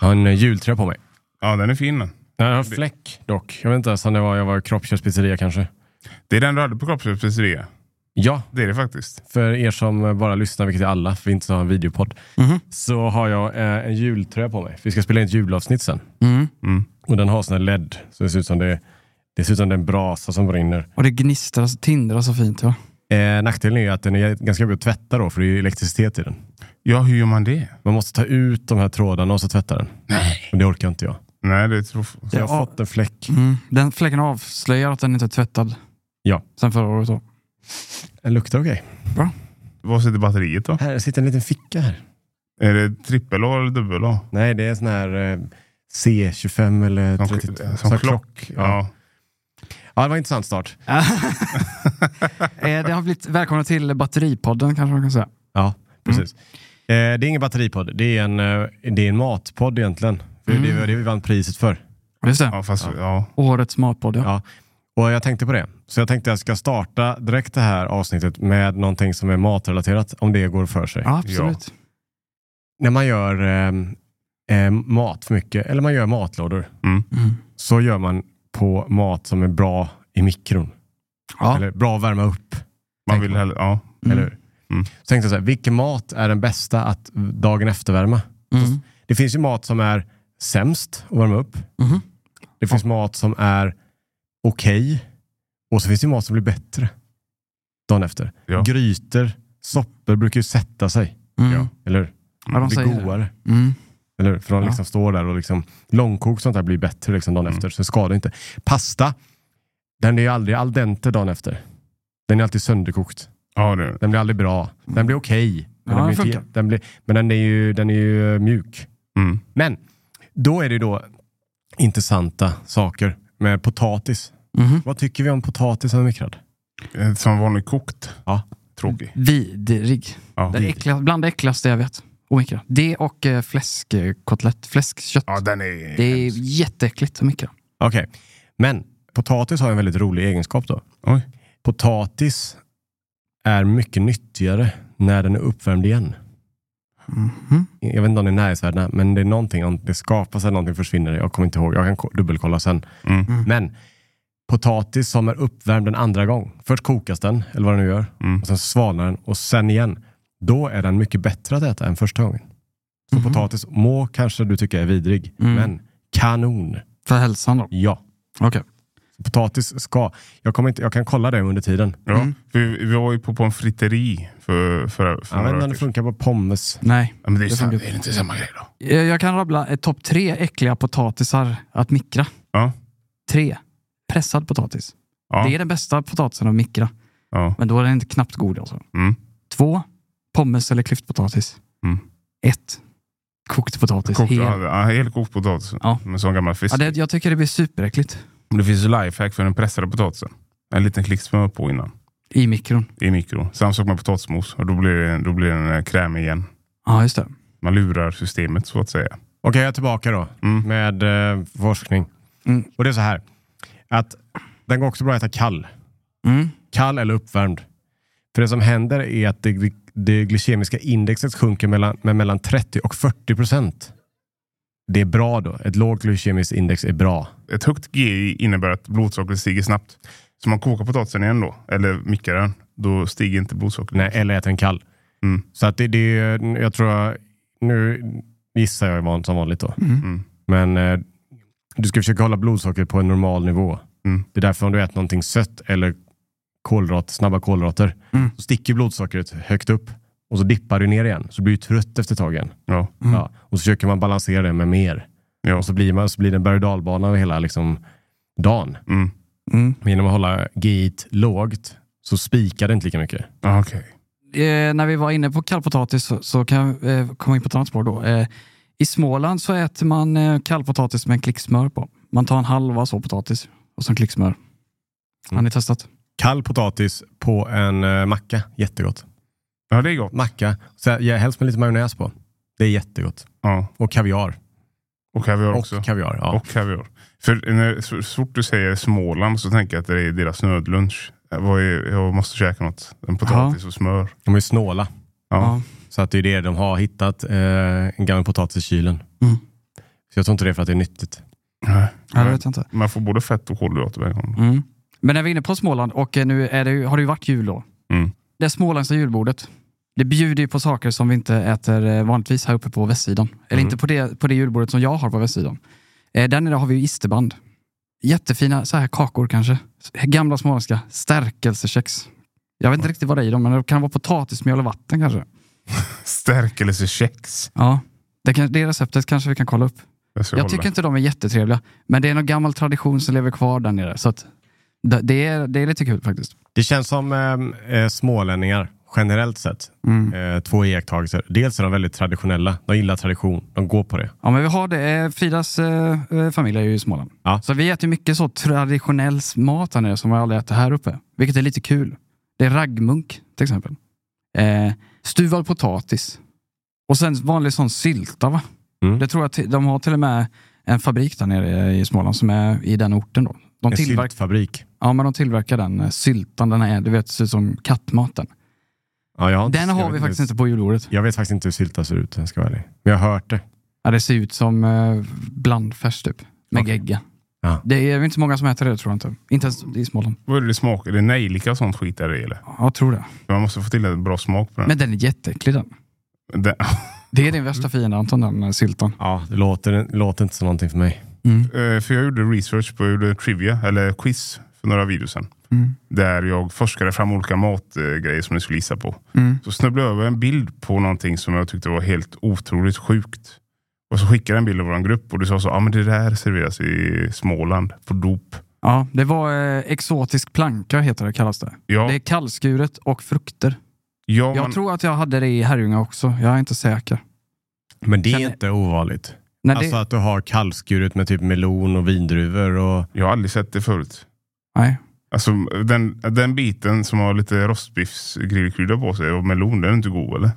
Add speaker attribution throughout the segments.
Speaker 1: Jag har en eh, jultröja på mig.
Speaker 2: Ja, den är fin.
Speaker 1: Jag har en fläck dock. Jag vet inte ens om det var, jag var i kroppsköttspizzeria kanske.
Speaker 2: Det är den du hade på Kroppshusets pizzeria.
Speaker 1: Ja,
Speaker 2: Det är det faktiskt.
Speaker 1: för er som bara lyssnar, vilket är alla, för vi inte har en videopodd, så har jag eh, en jultröja på mig. För Vi ska spela in ett julavsnitt sen.
Speaker 2: Mm.
Speaker 1: Och den har sån här LED, så det ser ut som det, det, ser ut som det är en brasa som brinner.
Speaker 3: Och det gnistrar och tindrar så fint. Ja.
Speaker 1: Eh, nackdelen är ju att den är ganska jobbig att tvätta då, för det är ju elektricitet i den.
Speaker 2: Ja, hur gör man det?
Speaker 1: Man måste ta ut de här trådarna och så tvätta den. Nej. Men det orkar inte jag.
Speaker 2: Nej, det tror
Speaker 1: Så jag har
Speaker 3: Ja.
Speaker 1: fått en fläck.
Speaker 3: Mm. Den fläcken avslöjar att den inte är tvättad.
Speaker 1: Ja.
Speaker 3: Sen förra året. Då.
Speaker 1: Den luktar okej.
Speaker 2: Var sitter batteriet då?
Speaker 1: Här sitter en liten ficka här.
Speaker 2: Är det trippel A eller dubbel A?
Speaker 1: Nej, det är en sån här eh, C25 eller
Speaker 2: Som,
Speaker 1: 32.
Speaker 2: som,
Speaker 1: Sån här
Speaker 2: klock. Ja.
Speaker 1: ja, det var en intressant start.
Speaker 3: Eh, det har blivit välkomna till batteripodden kanske man kan säga.
Speaker 1: Ja, precis. Mm. Eh, det är ingen batteripodd, det är en, eh, det är en matpodd egentligen. För Det var det vi vann priset för.
Speaker 3: Just det.
Speaker 2: ja, fast ja.
Speaker 3: Årets matpodd. Ja.
Speaker 1: Ja. Och jag tänkte på det. Så jag tänkte jag ska starta direkt det här avsnittet med någonting som är matrelaterat, om det går för sig.
Speaker 3: Ja, absolut.
Speaker 1: När man gör ehm, eh, mat för mycket, eller man gör matlådor,
Speaker 2: Mm.
Speaker 3: Mm.
Speaker 1: så gör man på mat som är bra i mikron.
Speaker 3: Ja.
Speaker 1: Eller bra att värma upp.
Speaker 2: Man
Speaker 1: Tänker
Speaker 2: vill
Speaker 1: man.
Speaker 2: hellre, ja.
Speaker 3: Mm.
Speaker 1: Eller hur?
Speaker 2: Mm.
Speaker 1: Så tänkte jag så här, vilken mat är den bästa att dagen efter värma?
Speaker 3: Mm.
Speaker 1: Det finns ju mat som är sämst att värma upp.
Speaker 3: Mhm.
Speaker 1: Det finns mat som är okej. Och så finns det mat som blir bättre dagen efter.
Speaker 2: Ja.
Speaker 1: Grytor, soppor brukar ju sätta sig.
Speaker 3: Mm.
Speaker 2: Ja.
Speaker 1: Eller hur?
Speaker 3: Ja, de
Speaker 1: blir
Speaker 3: säger det.
Speaker 1: godare.
Speaker 3: Mm.
Speaker 1: Eller hur? För de
Speaker 3: Ja.
Speaker 1: liksom står där och liksom, långkok sånt där blir bättre liksom
Speaker 2: Mm.
Speaker 1: dagen efter. Så det skadar inte. Pasta, den är ju aldrig al dente dagen efter. Den är alltid sönderkokt.
Speaker 2: ja det är det.
Speaker 1: Den blir aldrig bra. Den blir okej. men
Speaker 3: Ja,
Speaker 1: den
Speaker 3: den
Speaker 1: blir inte-
Speaker 3: funkar.
Speaker 1: den blir- men den är ju, den är ju eh, mjuk.
Speaker 2: Mm.
Speaker 1: Men då är det ju då intressanta saker med potatis.
Speaker 3: Mhm.
Speaker 1: Vad tycker vi om potatis som är mikrad?
Speaker 2: Eh, Som vanligt kokt.
Speaker 1: Ja.
Speaker 2: Tråkig.
Speaker 3: Vidrig.
Speaker 2: Ja. Mm.
Speaker 3: Det äckliga, bland det äckligaste jag vet. Och mikra. Det och eh, fläskkotlett. Fläskkött.
Speaker 2: ja, den är...
Speaker 3: det är jätteäckligt att mikra.
Speaker 1: Okej, men potatis har en väldigt rolig egenskap då.
Speaker 2: Oj.
Speaker 1: Potatis är mycket nyttigare när den är uppvärmd igen.
Speaker 3: Mhm.
Speaker 1: Jag vet inte om det är näringsvärdena, men det är någonting, om det skapas eller någonting försvinner. Jag kommer inte ihåg, jag kan ko- dubbelkolla sen.
Speaker 2: Mm.
Speaker 1: Men potatis som är uppvärmd en andra gång. Först kokas den, eller vad den nu gör.
Speaker 2: Mm.
Speaker 1: Och sen svalnar den och sen igen. Då är den mycket bättre att äta än första gången. Så
Speaker 3: Mhm.
Speaker 1: potatis må kanske du tycka är vidrig,
Speaker 3: Mm.
Speaker 1: men kanon.
Speaker 3: För hälsan då.
Speaker 1: Ja.
Speaker 3: Okej.
Speaker 1: Potatis ska. Jag, kommer inte, jag kan kolla det under tiden.
Speaker 2: Ja.
Speaker 3: Mm.
Speaker 2: För vi, vi var ju på pommes friteri för, för, för
Speaker 1: Jag vet inte
Speaker 2: några veckor
Speaker 1: om det
Speaker 2: sedan.
Speaker 1: funkar på pommes.
Speaker 3: Nej.
Speaker 2: ja, men det är,
Speaker 3: det
Speaker 2: sam-
Speaker 3: funkar.
Speaker 2: är det inte samma grej då?
Speaker 3: Eh, Jag kan rabbla eh, topp tre äckliga potatisar att mikra.
Speaker 2: Ja.
Speaker 3: Tre. Pressad potatis.
Speaker 2: Ja.
Speaker 3: Det är den bästa potatisen att mikra.
Speaker 2: ja.
Speaker 3: Men då är den inte knappt god alltså.
Speaker 2: Mm.
Speaker 3: Två. Pommes eller klyftpotatis.
Speaker 2: Mm.
Speaker 3: Ett. Kokt potatis.
Speaker 2: Kokt,
Speaker 3: hel.
Speaker 2: ja, ja, helt kokt potatis.
Speaker 3: Ja.
Speaker 2: Med sån gammal fisk.
Speaker 3: Ja, det, jag tycker det blir superäckligt
Speaker 2: det finns ju lifehack för den pressade potatisen. En liten klick smör på innan.
Speaker 3: i mikron.
Speaker 2: I mikro. Samma sak med potatismos. Och då blir det, då blir det en eh, kräm igen.
Speaker 3: Ja, just det.
Speaker 2: Man lurar systemet så att säga.
Speaker 1: Okej, jag är tillbaka då
Speaker 2: Mm.
Speaker 1: med eh, forskning.
Speaker 3: Mm.
Speaker 1: Och det är så här. Att den går också bra att äta kall.
Speaker 3: Mm.
Speaker 1: Kall eller uppvärmd. För det som händer är att det, det glykemiska indexet sjunker mellan, med mellan 30 och 40 procent. Det är bra då. Ett lågt glykemiskt index är bra.
Speaker 2: Ett högt GI innebär att blodsockret stiger snabbt. Så man kokar potatisen igen då, eller mikrar den, då stiger inte blodsockret.
Speaker 1: Nej, eller äter en kall.
Speaker 2: Mm.
Speaker 1: Så att det, det är, jag tror, nu gissar jag van- som vanligt då.
Speaker 2: Mm.
Speaker 1: Men eh, du ska försöka hålla blodsockret på en normal nivå.
Speaker 2: Mm.
Speaker 1: Det är därför om du äter någonting sött eller kolhydrat, snabba kolhydrater,
Speaker 3: Mm.
Speaker 1: så sticker blodsockret högt upp och så dippar du ner igen. Så blir du trött efter ett tag igen.
Speaker 2: Ja.
Speaker 1: Ja. Och så försöker man balansera det med mer.
Speaker 2: Ja.
Speaker 1: Och så blir, man, så blir det en berg och dalbana över hela liksom, dagen.
Speaker 2: Mm.
Speaker 3: Mm.
Speaker 1: Men genom att hålla GIT lågt så spikar det inte lika mycket.
Speaker 2: Ah, Okej.
Speaker 3: eh, när vi var inne på kallpotatis så, så kan jag eh, komma in på ett annat spår då. Eh, I Småland så äter man eh, kallpotatis med en klick smör på. Man tar en halva så potatis och så en klick smör. Har ni testat?
Speaker 1: Kall potatis på en eh, macka, jättegott.
Speaker 2: Ja, det är gott.
Speaker 1: Macka, så här, ja, helst med lite majonnäs på. Det är jättegott.
Speaker 2: Ja.
Speaker 1: Och kaviar.
Speaker 2: Och kaviar
Speaker 1: Och
Speaker 2: också.
Speaker 1: kaviar, ja.
Speaker 2: Och kaviar. För när, så så fort du säger Småland så tänker jag att det är deras nödlunch. Jag, var ju- jag måste käka något. En potatis och smör.
Speaker 1: De är snåla.
Speaker 2: Ja.
Speaker 1: Så att det är det de har hittat. Eh, en gammal potatis i kylen.
Speaker 3: Mm.
Speaker 1: Jag tror inte det är för att det är nyttigt.
Speaker 2: Nej.
Speaker 3: Ja, det vet jag inte.
Speaker 2: Man får både fett och kolhydrater varje gång.
Speaker 3: Mm. Men när vi är inne på Småland och eh, nu är det, ju- har det ju varit jul då.
Speaker 2: Mm.
Speaker 3: Det småländska julbordet. Det bjuder ju på saker som vi inte äter eh, vanligtvis här uppe på västsidan. Eller
Speaker 1: Mm.
Speaker 3: inte på det, på det julbordet som jag har på västsidan. Eh, där nere har vi ju isterband. Jättefina så här kakor kanske. S- Gamla småländska stärkelsekex. Jag vet inte riktigt vad det är i dem, men det kan vara potatismjöl och vatten kanske.
Speaker 2: Stärkelsekex.
Speaker 3: Ja, det, kan, det receptet kanske vi kan kolla upp.
Speaker 2: Jag, ska
Speaker 3: Jag
Speaker 2: kolla.
Speaker 3: tycker inte de är jättetrevliga, men det är någon gammal tradition som lever kvar där nere. Så att det, det, är, det är lite kul faktiskt.
Speaker 1: Det känns som eh, eh, smålänningar generellt sett. Eh, två iakttagelser. Dels är de väldigt traditionella. De gillar tradition. De går på det.
Speaker 3: Ja, men vi har det. Eh, Fridas eh, eh, familj är ju i Småland.
Speaker 1: Ja.
Speaker 3: Så vi äter ju mycket så traditionell mat här nere som vi aldrig äter här uppe. Vilket är lite kul. Det är raggmunk till exempel. Eh, stuvad potatis. Och sen vanlig sån sylta va?
Speaker 1: Mm.
Speaker 3: Det tror jag till- de har till och med en fabrik där nere i Småland som är i den orten då. De
Speaker 1: En
Speaker 3: tillverkar
Speaker 1: syltfabrik.
Speaker 3: Ja, men de tillverkar den eh, syltan, den är, du vet, ser ut som kattmaten.
Speaker 1: Ja, jag har inte-
Speaker 3: Den
Speaker 1: jag
Speaker 3: har
Speaker 1: vet
Speaker 3: vi faktiskt inte på julbordet.
Speaker 1: Jag vet faktiskt inte hur sylta ser ut, om jag ska vara ärlig. Men jag har hört det.
Speaker 3: Ja, det ser ut som eh, blandfärs typ, med
Speaker 1: Okej.
Speaker 3: gegga.
Speaker 1: Ja.
Speaker 3: Det är väl inte så många som äter det tror jag inte. Inte ens i Småland.
Speaker 2: Vad är det smak? Är det nejlika och sånt skit där i eller?
Speaker 3: Ja, jag tror det.
Speaker 2: Man måste få till en bra smak på den.
Speaker 3: Men den är jätteäcklig den.
Speaker 2: Den-
Speaker 3: Det är din värsta fiende Anton, den eh, syltan.
Speaker 1: Ja, det låter, låter inte som någonting för mig.
Speaker 2: Eh, För jag gjorde research på jag gjorde trivia, eller quiz, för några videor sedan.
Speaker 3: Mm.
Speaker 2: Där jag forskade fram olika matgrejer som ni skulle gissa på.
Speaker 3: Mm.
Speaker 2: Så snubblade jag över en bild på någonting som jag tyckte var helt otroligt sjukt. Och så skickade jag en bild av vår grupp och du sa så, ja ah, men det där serveras i Småland på dop.
Speaker 3: Ja, det var eh, exotisk planka heter det, kallas det.
Speaker 2: Ja,
Speaker 3: Det är kallskuret och frukter.
Speaker 2: ja,
Speaker 3: Jag
Speaker 2: men,
Speaker 3: tror att jag hade det i Herrljunga också. Jag är inte säker.
Speaker 1: Men det är
Speaker 3: Känner-
Speaker 1: inte ovanligt.
Speaker 3: Nej,
Speaker 1: Alltså
Speaker 3: det,
Speaker 1: att du har kallskuret med typ melon och vindruvor och...
Speaker 2: jag har aldrig sett det förut.
Speaker 3: nej.
Speaker 2: Alltså den, den biten som har lite rostbiffsgrillkrydda på sig och melon, den är inte god eller?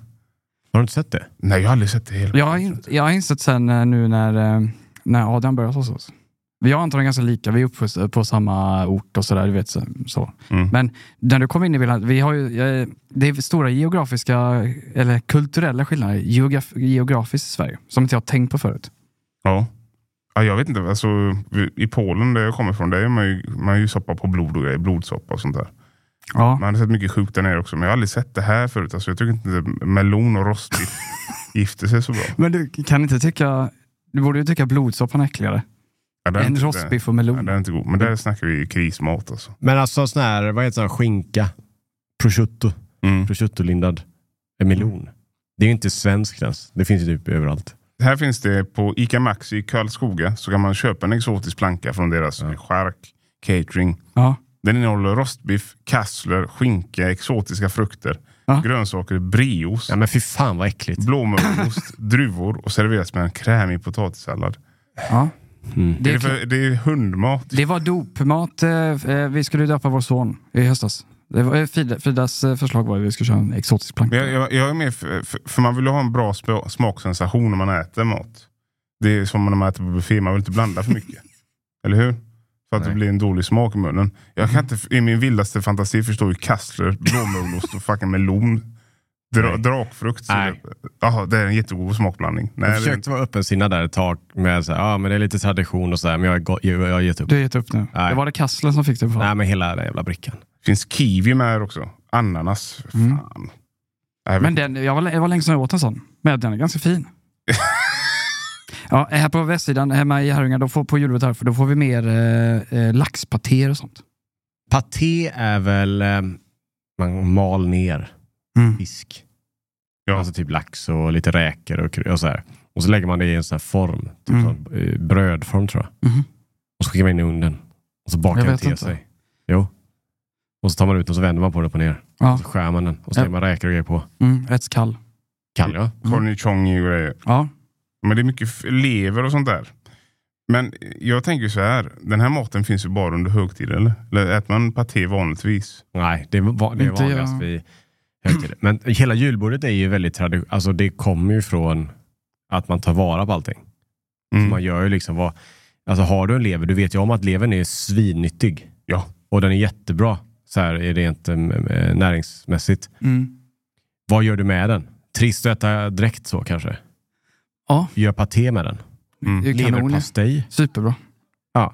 Speaker 1: Har du inte sett det?
Speaker 2: Nej, jag har aldrig sett det hela.
Speaker 3: Jag har, in, jag har insett sen eh, nu när, eh, när Adam började hos oss. Vi har antagligen ganska lika, vi är uppvuxna på samma ort och sådär. du vet, så- Så.
Speaker 2: Mm.
Speaker 3: Men när du kom in i bilden, vi har ju, eh, det är stora geografiska, eller kulturella skillnader geograf, geografiskt i Sverige, som inte jag har tänkt på förut.
Speaker 2: Ja. ja. Jag vet inte. Alltså, vi- I Polen där jag kommer ifrån, där är man ju, man är ju soppa på blod och grejer. Blodsoppa och sånt där.
Speaker 3: Ja.
Speaker 2: Man har sett mycket sjukt där nere också, men jag har aldrig sett det här förut. Alltså, jag tycker inte melon och rostbiff gifter sig så bra.
Speaker 3: Men du kan inte tycka, du borde ju tycka blodsoppan är äckligare
Speaker 2: Ja, den är
Speaker 3: än
Speaker 2: inte-
Speaker 3: rostbiff och
Speaker 2: Ja, den
Speaker 3: melon.
Speaker 2: är inte god. Men
Speaker 1: Mm.
Speaker 2: där snackar vi krismat alltså.
Speaker 1: Men alltså sån här, vad heter det, skinka? Prosciutto.
Speaker 2: Mm.
Speaker 1: Prosciuttolindad eh, melon. Det är ju inte svenskt ens. Det finns ju typ överallt.
Speaker 2: Här finns det på Ica Maxi i Karlskoga så kan man köpa en exotisk planka från deras
Speaker 1: Ja.
Speaker 2: chark catering.
Speaker 3: Ja.
Speaker 2: Den innehåller rostbiff, kassler, skinka, exotiska frukter,
Speaker 3: Ja.
Speaker 2: grönsaker, brios,
Speaker 1: Ja men fy fan vad äckligt.
Speaker 2: blåmögelost, druvor och serveras med en krämig potatissallad.
Speaker 3: Ja.
Speaker 1: Mm.
Speaker 2: Det
Speaker 3: Det,
Speaker 2: är,
Speaker 3: är
Speaker 2: det, för, det är hundmat.
Speaker 3: Det var dopmat. eh, eh, Vi skulle döpa vår son i höstas. Det var, eh, Frida- Fridas eh, förslag var att vi skulle köra en exotisk planka.
Speaker 2: Men Jag, jag, jag är med för, för, för man vill ju ha en bra sp- smaksensation när man äter mat. Det är som när man äter på buffé, man vill inte blanda för mycket. Eller hur? För
Speaker 1: Nej.
Speaker 2: att
Speaker 1: Mm.
Speaker 2: det blir en dålig smak i munnen. Jag kan inte f- i min vildaste fantasi förstå hur kassler, blåmögelost och fucking melon, dra,
Speaker 1: Nej.
Speaker 2: drakfrukt. så
Speaker 1: Nej.
Speaker 2: det- Jaha, det är en jättegod smakblandning. Nej,
Speaker 1: Jag
Speaker 2: det-
Speaker 1: försökte vara öppensinnad där ett tag med så här, ja men det är lite tradition och så här, men jag har go- jag jag har gett upp.
Speaker 3: Du har gett upp nu.
Speaker 1: Nej.
Speaker 3: Det var det Kassler som fick det. För.
Speaker 1: Nej men hela den här jävla brickan.
Speaker 2: finns kiwi med här också. Ananas.
Speaker 3: Mm.
Speaker 2: Fan. Äh, Nej, jag vet
Speaker 3: Men den, jag var, jag var länge sedan jag åt en sån. Men den är ganska fin. ja, här på västsidan, hemma i Herrljunga, då får, på julbordet här, för då får vi mer eh, eh, laxpatéer och sånt.
Speaker 1: Paté är väl, eh, man mal ner
Speaker 2: Mm.
Speaker 1: fisk.
Speaker 2: Ja.
Speaker 1: Alltså typ lax och lite räkor och, kry- och så här. Och så lägger man det i en sån här form, typ
Speaker 3: Mm.
Speaker 1: sån, eh, brödform tror jag.
Speaker 3: Mhm.
Speaker 1: Och så skickar man in i ugnen. Och så
Speaker 3: Jag
Speaker 1: bakar den
Speaker 3: vet
Speaker 1: till
Speaker 3: inte.
Speaker 1: sig. Jo. Och så tar man ut den och så vänder man på den upp och ner.
Speaker 3: Ja.
Speaker 1: Och så skär man den och så
Speaker 3: Ja.
Speaker 1: lägger man räkor och grejer på.
Speaker 3: Mm, rätt kall.
Speaker 1: Kan jag?
Speaker 2: inte. Cornichon och grejer.
Speaker 3: Ja.
Speaker 2: Men det är mycket f- lever och sånt där. Men jag tänker så här, den här maten finns ju bara under högtider eller? Eller äter man paté vanligtvis?
Speaker 1: Nej, det är, va- det är
Speaker 3: Inte jag.
Speaker 1: vanligast vid högtider. Men hela julbordet är ju väldigt traditionellt. Alltså det kommer ju från att man tar vara på allting.
Speaker 2: Mm.
Speaker 1: Man gör ju liksom vad... Alltså har du en lever, du vet ju om att levern är svinnyttig.
Speaker 2: Ja.
Speaker 1: Och den är jättebra, så här är det inte eh, näringsmässigt.
Speaker 3: Mm.
Speaker 1: Vad gör du med den? Trist att äta direkt så kanske?
Speaker 3: Ja.
Speaker 1: Gör paté med den.
Speaker 2: Mm.
Speaker 3: Det är ju kanon. ju.
Speaker 1: Leverpastej.
Speaker 3: Superbra.
Speaker 1: Ja.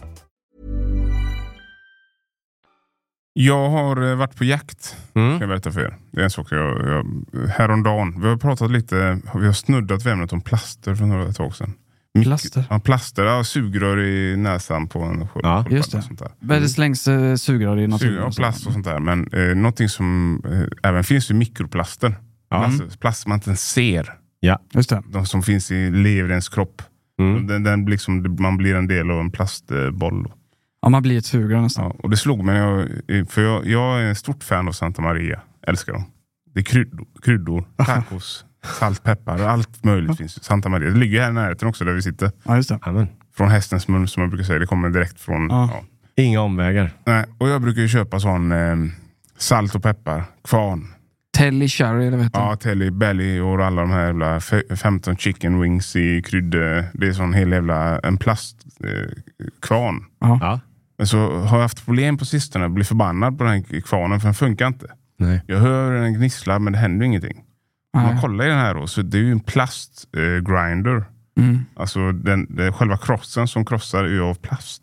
Speaker 2: Jag har eh, varit på jakt,
Speaker 1: Mm.
Speaker 2: kan jag berätta för er. Det är en sak jag, jag, häromdagen. Vi har pratat lite, vi har snuddat vid ämnet om plaster för några tag sedan. Mik-
Speaker 3: Plaster?
Speaker 2: Ja, plaster. Ja, sugrör i näsan på en sköld.
Speaker 1: Ja,
Speaker 3: just det.
Speaker 2: Och sånt där. Mm.
Speaker 3: Men Det slängs eh, sugrör i naturen.
Speaker 2: Sugrör och plast och sånt där. Men eh, någonting som eh, även finns ju mikroplaster. Plast, plast man inte ens ser.
Speaker 3: Just det.
Speaker 2: De som finns i leverens kropp.
Speaker 1: Mm.
Speaker 2: Den, den blir liksom, man blir en del av en plastboll.
Speaker 3: Ja, man blir ett sugrör nästan.
Speaker 2: Ja, och det slog mig, när jag, för jag, jag är en stort fan av Santa Maria. Älskar dem. Det är kryddor, kryddor tacos, salt, peppar och allt möjligt finns. ju. Santa Maria. Det ligger ju här i närheten också där vi sitter.
Speaker 3: Ja, just det.
Speaker 1: Amen.
Speaker 2: Från hästens mun som jag brukar säga. Det kommer direkt från...
Speaker 3: Ja.
Speaker 2: Ja.
Speaker 1: Inga omvägar.
Speaker 2: Nej, och jag brukar ju köpa sån eh, salt och peppar, kvarn.
Speaker 3: Telly Cherry, eller vad heter
Speaker 2: Ja, Telly, Belly och alla de här jävla fe- 15 chicken wings i kryddor. Det är sån hel jävla en plastkvarn. Eh, kvarn.
Speaker 1: Ja.
Speaker 2: Men så har jag haft problem på sistone. Blir förbannad på den här kvarnen för den funkar inte.
Speaker 1: Nej.
Speaker 2: Jag hör den gnissla men det händer ingenting. Om man
Speaker 3: Nej.
Speaker 2: kollar i den här då, så det är ju en plastgrinder. Eh, grinder.
Speaker 3: Mm.
Speaker 2: alltså den, den, själva krossen som krossar är ju av plast.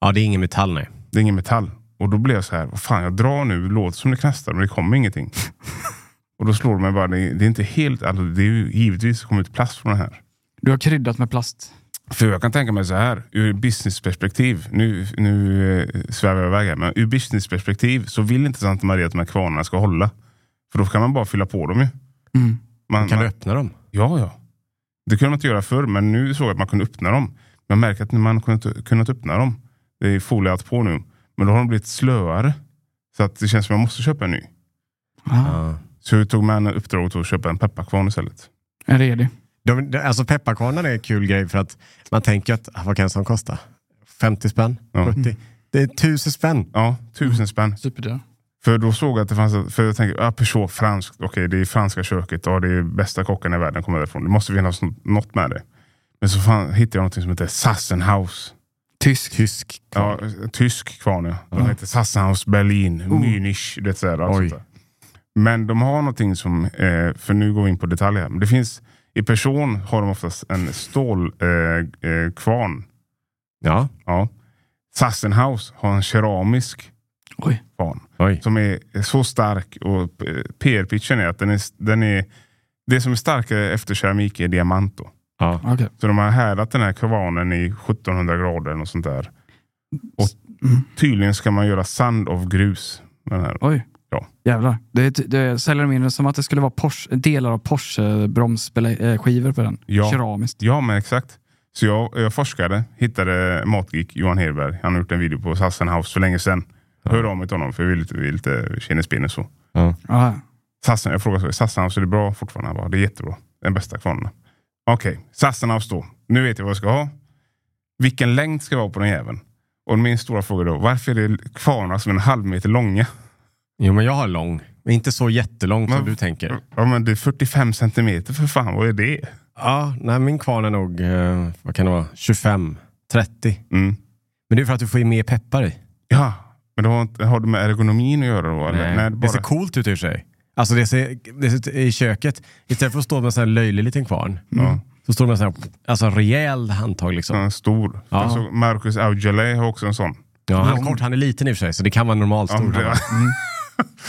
Speaker 1: Ja, det är ingen metall nej.
Speaker 2: Det är ingen metall. Och då blev jag så här, vad fan jag drar nu, det låter som det knastrar men det kommer ingenting. och då slår det mig bara, det, det är inte helt, alltså, det är ju givetvis kommit plast från det här.
Speaker 3: Du har kryddat med plast.
Speaker 2: För jag kan tänka mig så här, ur businessperspektiv, nu, nu eh, svävar jag iväg här, men ur businessperspektiv så vill inte Santa Maria att de här kvarnarna ska hålla. För då kan man bara fylla på dem ju.
Speaker 3: Mm.
Speaker 2: Man,
Speaker 1: Kan
Speaker 2: man,
Speaker 1: du öppna dem?
Speaker 2: Ja, ja. Det kunde man inte göra förr, men nu såg jag att man kunde öppna dem. Jag märker att när man kunnat, kunnat öppna dem, det är foliehatt på nu, men då har de blivit slöare. Så att det känns som att jag måste köpa en ny.
Speaker 3: Ah.
Speaker 1: Ja.
Speaker 2: Så jag tog med en uppdrag att köpa en pepparkvarn istället.
Speaker 3: En redig.
Speaker 1: De, de, alltså pepparkvarnar är en kul grej för att man tänker att ah, vad kan en sån kosta? 50 spänn?
Speaker 2: Ja.
Speaker 1: 70? Det är tusen spänn.
Speaker 2: Ja, tusen spänn.
Speaker 3: Superdyr.
Speaker 2: För då såg jag att det fanns, för jag tänkte, ja, Peugeot, franskt, okej det är franska köket, ja det är bästa kockarna i världen kommer därifrån. Det måste finnas nå- något med det. Men så fan, hittade jag någonting som heter Sassenhaus.
Speaker 3: Tysk.
Speaker 1: Tysk.
Speaker 2: Ja, tysk kvarn ja. De heter Sassenhaus Berlin, Münich, det sådär, allt
Speaker 1: Oj.
Speaker 2: sånt där. Men de har någonting som, eh, för nu går vi in på detaljer här, men det finns, i person har de oftast en stålkvarn. Eh, eh, kvarn.
Speaker 1: Ja.
Speaker 2: ja. Sassenhaus har en keramisk
Speaker 3: Oj.
Speaker 2: kvarn
Speaker 1: Oj.
Speaker 2: som är så stark och eh, PR-pitchen är att den är, den är, det som är starkare efter keramik är diamant. Då.
Speaker 1: Ja.
Speaker 3: Okej.
Speaker 2: Så de har härdat den här kvarnen i 1700 grader och sånt där. Och tydligen ska man göra sand av grus. med Den här.
Speaker 3: Oj.
Speaker 2: Ja.
Speaker 3: Jävlar. Det, det, säljer de in det som att det skulle vara Porsche, eh, delar av Porsche-bromsskivor på den.
Speaker 2: Ja.
Speaker 3: Keramiskt.
Speaker 2: Ja, men exakt. Så jag, jag forskade, hittade matgeek Johan Hedberg. Han har gjort en video på Sassenhaus för länge sedan. Hör av mig till honom för vi vill lite, vi vill lite kinnespinn och så.
Speaker 3: Ah.
Speaker 2: Sassen, jag frågade så, Sassenhaus, är det bra fortfarande? Han bara, det är jättebra. Den bästa kvarnen. Okej, Sassenhaus då. Nu vet jag vad jag ska ha. Vilken längd ska jag ha på den jäveln? Och min stora fråga då, varför är det kvarnar som är en halv meter långa?
Speaker 1: Jo, men jag har lång. Men inte så jättelång som
Speaker 2: Men-
Speaker 1: du tänker.
Speaker 2: Ja men det är 45 centimeter för fan, vad är det?
Speaker 1: Ja, nej, min kvarn är nog, eh, vad kan det vara, 25, 30.
Speaker 2: Mm.
Speaker 1: Men det är för att du får i mer peppar i.
Speaker 2: Ja, men det har, inte- har det med ergonomin att göra då? Eller? Nej. det,
Speaker 1: Det ser
Speaker 2: bara,
Speaker 1: coolt ut i och för sig. Alltså det ser, det ser, i köket, istället för att stå med en sån här löjlig liten kvarn,
Speaker 2: ja,
Speaker 1: så står det med en sån här, alltså en rejäl handtag
Speaker 2: så
Speaker 1: liksom.
Speaker 2: den är stor.
Speaker 1: Ja.
Speaker 2: Jag såg Marcus Aujalay har också en sån.
Speaker 1: Ja, han är kort, han är liten i och för sig, så det kan vara en normal
Speaker 2: Ja,
Speaker 1: stor.
Speaker 2: det,
Speaker 1: Ja,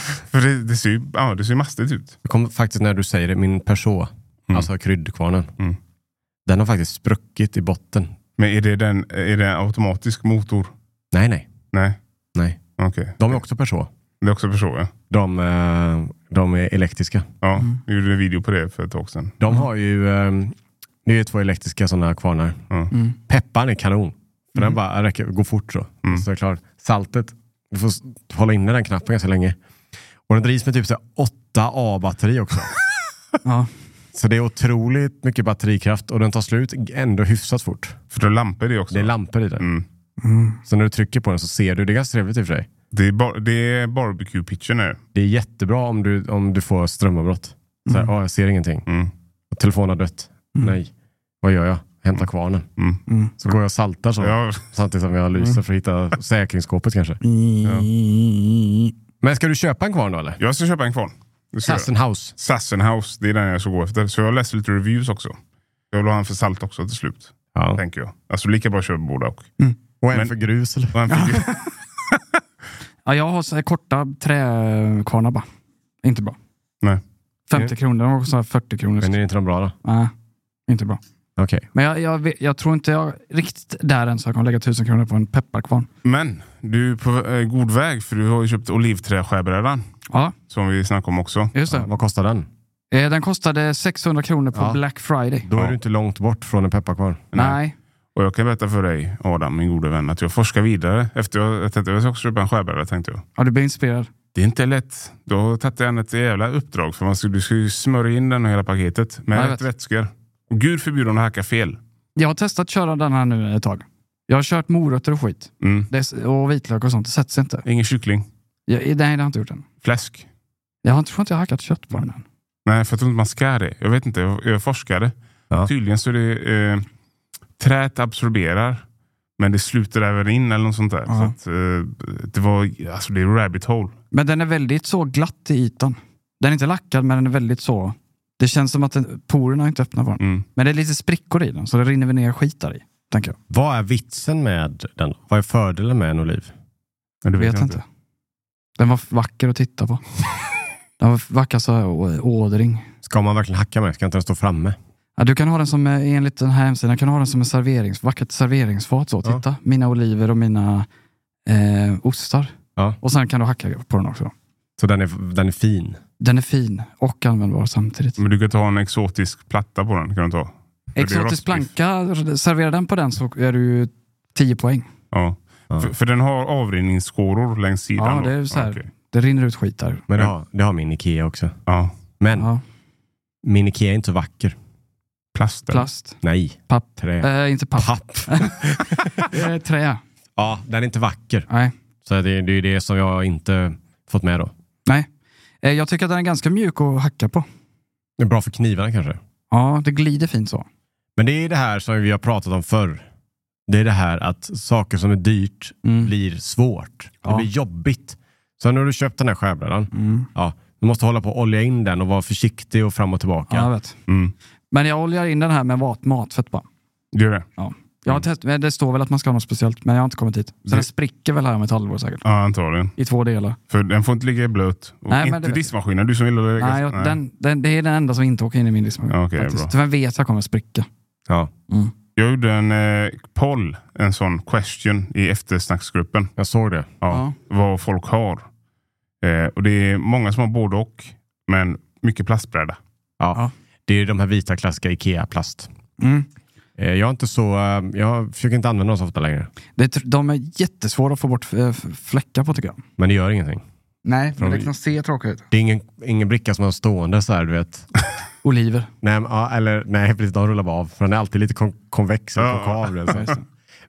Speaker 2: För det, det, ser ju, ja, det ser ju mastigt ut.
Speaker 1: Det kom faktiskt när du säger det, min perså,
Speaker 2: Mm.
Speaker 1: alltså kryddkvarnen,
Speaker 2: Mm.
Speaker 1: den har faktiskt spruckit i botten.
Speaker 2: Men är det, den, är det en automatisk motor?
Speaker 1: Nej, nej.
Speaker 2: Nej.
Speaker 1: nej.
Speaker 2: Okej.
Speaker 1: De är också perså.
Speaker 2: Det är också förstår jag.
Speaker 1: De, eh, de är elektriska.
Speaker 2: Ja,
Speaker 3: Mm.
Speaker 2: vi gjorde en video på det för ett tag sedan.
Speaker 1: De har ju, eh, det är ju två elektriska sådana kvarnar.
Speaker 3: Mm.
Speaker 1: Pepparn är kanon. För den bara räcker, går fort så.
Speaker 2: Mm.
Speaker 1: så är det klart. Saltet, du får s- hålla inne den knappen ganska länge. Och den drivs med typ 8A-batteri också.
Speaker 3: Ja.
Speaker 1: Så det är otroligt mycket batterikraft och den tar slut ändå hyfsat fort.
Speaker 2: För det är lampor i det också.
Speaker 1: Det är lampor i den.
Speaker 2: mm.
Speaker 1: Så när du trycker på den så ser du, det är ganska trevligt i och för sig.
Speaker 2: det är, bar- det är barbecue-pitchen nu.
Speaker 1: Det är jättebra om du, om du får strömavbrott. Så här, "Ah, jag ser ingenting.
Speaker 2: Mm.
Speaker 1: Telefonen har dött. Nej. Vad gör jag? Hämtar kvarnen.
Speaker 2: Mm.
Speaker 1: Så går jag och saltar så.
Speaker 2: Ja,
Speaker 1: Samtidigt som jag lyser för att hitta säkringsskåpet kanske. Men ska du köpa en kvarn då eller?
Speaker 2: jag ska köpa en kvarn. Det ska jag göra.
Speaker 1: Sassen House.
Speaker 2: Sassenhaus, det är den jag ska gå efter. Så jag läser lite reviews också. Jag vill ha en för salt också till slut,
Speaker 1: Ja.
Speaker 2: tänker jag. Alltså lika bra att köpa båda och.
Speaker 1: Och en
Speaker 2: Men-
Speaker 1: för grus eller?
Speaker 2: Och en för-
Speaker 3: Ja, jag har så här korta träkvarnar bara. Inte bra.
Speaker 2: Nej.
Speaker 3: 50 kronor, de var så här 40 kronor.
Speaker 1: Men är inte de bra då?
Speaker 3: Nej, inte bra.
Speaker 1: Okej.
Speaker 3: Men jag, jag, vet- jag tror inte jag riktigt där än så jag kommer lägga 1000 kronor på en pepparkvarn.
Speaker 2: Men du är på eh, god väg för du har ju köpt olivträskärbrädan.
Speaker 3: Ja,
Speaker 2: Som vi snackade om också.
Speaker 3: just det.
Speaker 1: Ja, vad kostar den?
Speaker 3: Eh, Den kostade 600 kronor på
Speaker 1: Ja.
Speaker 3: Black Friday.
Speaker 1: Då är
Speaker 2: Ja.
Speaker 1: du inte långt bort från en pepparkvarn.
Speaker 3: Nej.
Speaker 2: Och jag kan berätta för dig Adam, min gode vän, att jag forskar vidare. Efter jag, jag tänkte jag ska också köpa en skärbräda tänkte jag.
Speaker 3: Ja, du blir inspirerad.
Speaker 2: Det är inte lätt. Då tatte jag ett jävla uppdrag. För man ska, du ska ju smörja in den och hela paketet med
Speaker 3: Ja, jag
Speaker 2: rätt
Speaker 3: vet.
Speaker 2: vätskor. Och Gud förbjuder att hacka fel.
Speaker 3: Jag har testat att köra den här nu ett tag. Jag har kört morötter och skit.
Speaker 2: Mm.
Speaker 3: Det, s- och vitlök och sånt. Det sätts inte.
Speaker 2: Ingen kyckling.
Speaker 3: Jag, nej, det har jag inte gjort än.
Speaker 2: Fläsk.
Speaker 3: Jag har- tror inte jag har hackat kött på den än.
Speaker 2: Nej, för jag tror inte man ska det. Jag vet inte, jag, jag forskade.
Speaker 1: Ja.
Speaker 2: Tydligen så är det... Eh, träet absorberar, men det sluter även in eller något sånt där.
Speaker 3: Ja.
Speaker 2: Så att, eh, det var... Alltså det är rabbit hole.
Speaker 3: Men den är väldigt så glatt i ytan. Den är inte lackad, men den är väldigt så... Det känns som att den, porerna inte är öppna på den.
Speaker 2: Mm.
Speaker 3: Men det är lite sprickor i den, så det rinner väl ner skit där i. Tänker jag.
Speaker 1: Vad är vitsen med den? Vad är fördelen med en oliv?
Speaker 2: Men det
Speaker 3: vet, inte. Den var f- vacker att titta på. den var f- vacker så här, å- ådring.
Speaker 1: Ska man verkligen hacka med? Ska inte den stå framme?
Speaker 3: Ja, du kan ha den som, eh, enligt den här hemsidan, kan du ha den som en serverings, vackert serveringsfat. Så.
Speaker 1: Ja.
Speaker 3: Titta, mina oliver och mina eh, ostar.
Speaker 1: Ja.
Speaker 3: Och sen kan du hacka på den också.
Speaker 1: Så den är, den är fin.
Speaker 3: Den är fin och användbar samtidigt.
Speaker 2: Men du kan ta en exotisk platta på den. Kan du ta. Mm. det är
Speaker 3: Exotisk
Speaker 2: rostbiff.
Speaker 3: planka, serverar den på den så är du ju 10 poäng.
Speaker 2: Ja.
Speaker 1: Ja.
Speaker 2: För, för den har avrinningsskåror längs sidan.
Speaker 3: Ja,
Speaker 2: då.
Speaker 3: det är så här.
Speaker 2: okej.
Speaker 3: Det rinner ut skit där.
Speaker 1: Men det har, det har min Ikea också.
Speaker 2: Ja,
Speaker 1: Men
Speaker 3: Ja,
Speaker 1: min Ikea är inte så vacker.
Speaker 2: plast. där.
Speaker 3: plast.
Speaker 1: Nej.
Speaker 3: Papp.
Speaker 1: Trä.
Speaker 3: Eh, inte papp.
Speaker 1: Papp.
Speaker 3: Eh, trä.
Speaker 1: Ja, den är inte vacker.
Speaker 3: Nej.
Speaker 1: Så det, det är ju det som jag inte fått med då.
Speaker 3: Nej. Eh, jag tycker att den är ganska mjuk att hacka på.
Speaker 1: Det är bra för knivarna kanske.
Speaker 3: Ja, det glider fint så.
Speaker 1: Men det är det här som vi har pratat om förr. Det är det här att saker som är dyrt
Speaker 3: Mm.
Speaker 1: blir svårt. Det
Speaker 3: Ja. Mm.
Speaker 1: blir jobbigt. Så nu har du köpt den här skärbrädan. Ja, du måste hålla på att olja in den och vara försiktig och fram och tillbaka.
Speaker 3: Ja, jag vet.
Speaker 2: Mm.
Speaker 3: Men jag oljar in den här med mat, matfett bara.
Speaker 2: Gör det?
Speaker 3: Ja. Jag har test, men det står väl att man ska ha något speciellt, men jag har inte kommit dit. Så
Speaker 2: Det-
Speaker 3: den spricker väl här om ett halvår säkert.
Speaker 2: Ja, antagligen.
Speaker 3: I två delar.
Speaker 2: För den får inte ligga i blöt. Och
Speaker 3: Nej, men det
Speaker 2: inte
Speaker 3: vet jag.
Speaker 2: diskmaskinen. Du som gillar att lägga...
Speaker 3: Nej, jag, Den, den, det är den enda som inte åker in i min diskmaskin.
Speaker 2: Ja, okej,
Speaker 3: faktiskt.
Speaker 2: bra.
Speaker 3: För den vet jag kommer spricka.
Speaker 1: Ja.
Speaker 2: Jag gjorde en eh, poll, en sån question i eftersnacksgruppen.
Speaker 1: Jag såg det.
Speaker 2: Ja, Vad folk har. Eh, och det är många som har både och, men mycket plastbräda.
Speaker 1: Ja.
Speaker 3: Ja.
Speaker 1: Det är de här vita klassiska Ikea-plast.
Speaker 3: Mm.
Speaker 1: Eh, Jag, är inte så, eh, jag försöker inte använda dem så ofta längre.
Speaker 3: Det, är tr- de är jättesvåra att få bort eh, f- fläckar på tycker jag.
Speaker 1: Men det gör ingenting.
Speaker 3: Nej,
Speaker 1: men det kan
Speaker 3: se tråkigt ut.
Speaker 1: Det är ingen, ingen bricka som har stående så här, du vet.
Speaker 3: Oliver.
Speaker 1: Nej, men, ja, eller, nej precis, de rullar bara av. För den är alltid lite kon- konvex och
Speaker 2: Ja.
Speaker 1: konkav. du vet,
Speaker 3: Ja,
Speaker 1: så.
Speaker 3: just det.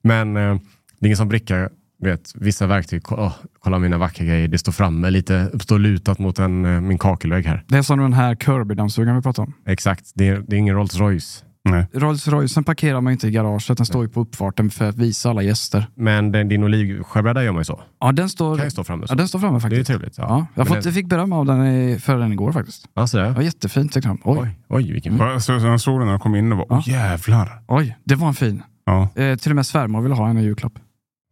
Speaker 1: Men eh, det är ingen som bricka, du vet, vissa verktyg, ko- åh, kolla mina vackra grejer, det står framme lite, står lutat mot en, eh, min kakelvägg här.
Speaker 3: Det är som den här Kirby-dammsugaren vi pratade om.
Speaker 1: Exakt, det är, det är ingen Rolls Royce.
Speaker 2: Nej.
Speaker 3: Rolls Roycen parkerar man ju inte i garaget, den står ju på uppfarten för att visa alla gäster.
Speaker 1: Men den, din olivskärbräda gör man ju så.
Speaker 3: Ja, den står,
Speaker 1: Kan ju stå framme så.
Speaker 3: ja, den står framme
Speaker 1: det är ju
Speaker 3: faktiskt.
Speaker 1: trevligt.
Speaker 3: Ja, jag, har
Speaker 1: Men
Speaker 3: fått,
Speaker 1: det-
Speaker 3: jag fick beröm av den i, för den igår faktiskt.
Speaker 1: Ja, sådär.
Speaker 3: Det var jättefint tyckte de. Oj,
Speaker 1: Oj, oj, vilken
Speaker 2: Mm. Så, så jag såg den när jag kom in och bara,
Speaker 3: Ja.
Speaker 2: åh jävlar.
Speaker 3: oj, det var en fin.
Speaker 2: Ja.
Speaker 3: Eh, till och med svärmor ville ha en i julklapp.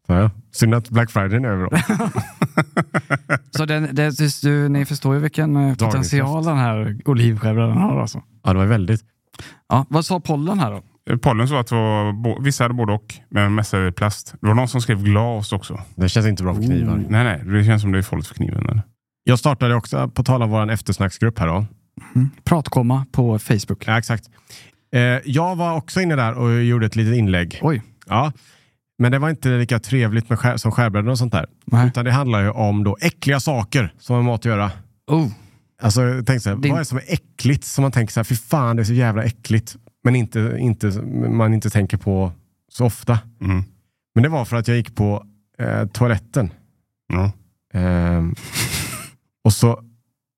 Speaker 1: Ja. Synd att Black Friday är över. då.
Speaker 3: Så den, det, det, du, ni förstår ju vilken eh, potential den här olivskärvaren har alltså.
Speaker 1: Ja, det var väldigt.
Speaker 3: Ja, vad sa pollen här då?
Speaker 2: Eh, Pollen sa att det var, bo- vissa hade både och, men mest är det plast. Det var någon som skrev glas också.
Speaker 1: Det känns inte bra för
Speaker 3: Oh.
Speaker 1: knivar.
Speaker 2: Nej, nej, det känns som det är farligt för kniven. eller?
Speaker 1: Jag startade också, på tal om vår eftersnacksgrupp här då.
Speaker 3: Pratkomma på Facebook.
Speaker 1: Ja, exakt. Eh, jag var också inne där och gjorde ett litet inlägg.
Speaker 3: Oj.
Speaker 1: Ja. Men det var inte lika trevligt med skär, som skärbrädor och sånt där.
Speaker 3: Nej.
Speaker 1: Utan det handlar ju om då äckliga saker som har med mat att göra.
Speaker 3: Oh.
Speaker 1: Alltså, jag tänkte så här,
Speaker 3: Din-
Speaker 1: vad är det som är äckligt? Som man tänker så här, fy fan det är så jävla äckligt. Men inte, inte, man inte tänker på så ofta.
Speaker 2: Mm.
Speaker 1: Men det var för att jag gick på eh, toaletten.
Speaker 2: Ja.
Speaker 1: Ehm, och så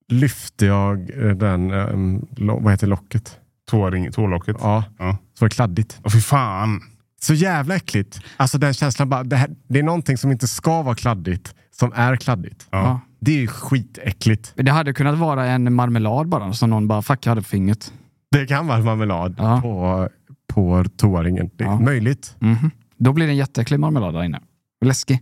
Speaker 1: lyfte jag eh, den, ehm, lo- vad heter locket?
Speaker 2: Tåring, tålocket. Ja.
Speaker 1: Ja, så var det kladdigt.
Speaker 2: Åh, fy fan.
Speaker 1: Så jävla äckligt. Alltså den känslan bara, det, här, det är någonting som inte ska vara kladdigt, som är kladdigt.
Speaker 2: Ja.
Speaker 1: Det är ju skitäckligt.
Speaker 3: Det hade kunnat vara en marmelad bara, som någon bara fuck, jag hade på fingret.
Speaker 1: Det kan vara marmelad
Speaker 3: Ja.
Speaker 1: på, på toaringen. Det är
Speaker 3: Ja.
Speaker 1: möjligt.
Speaker 3: Mhm. Då blir det en jätteäcklig marmelad där inne. Läskig.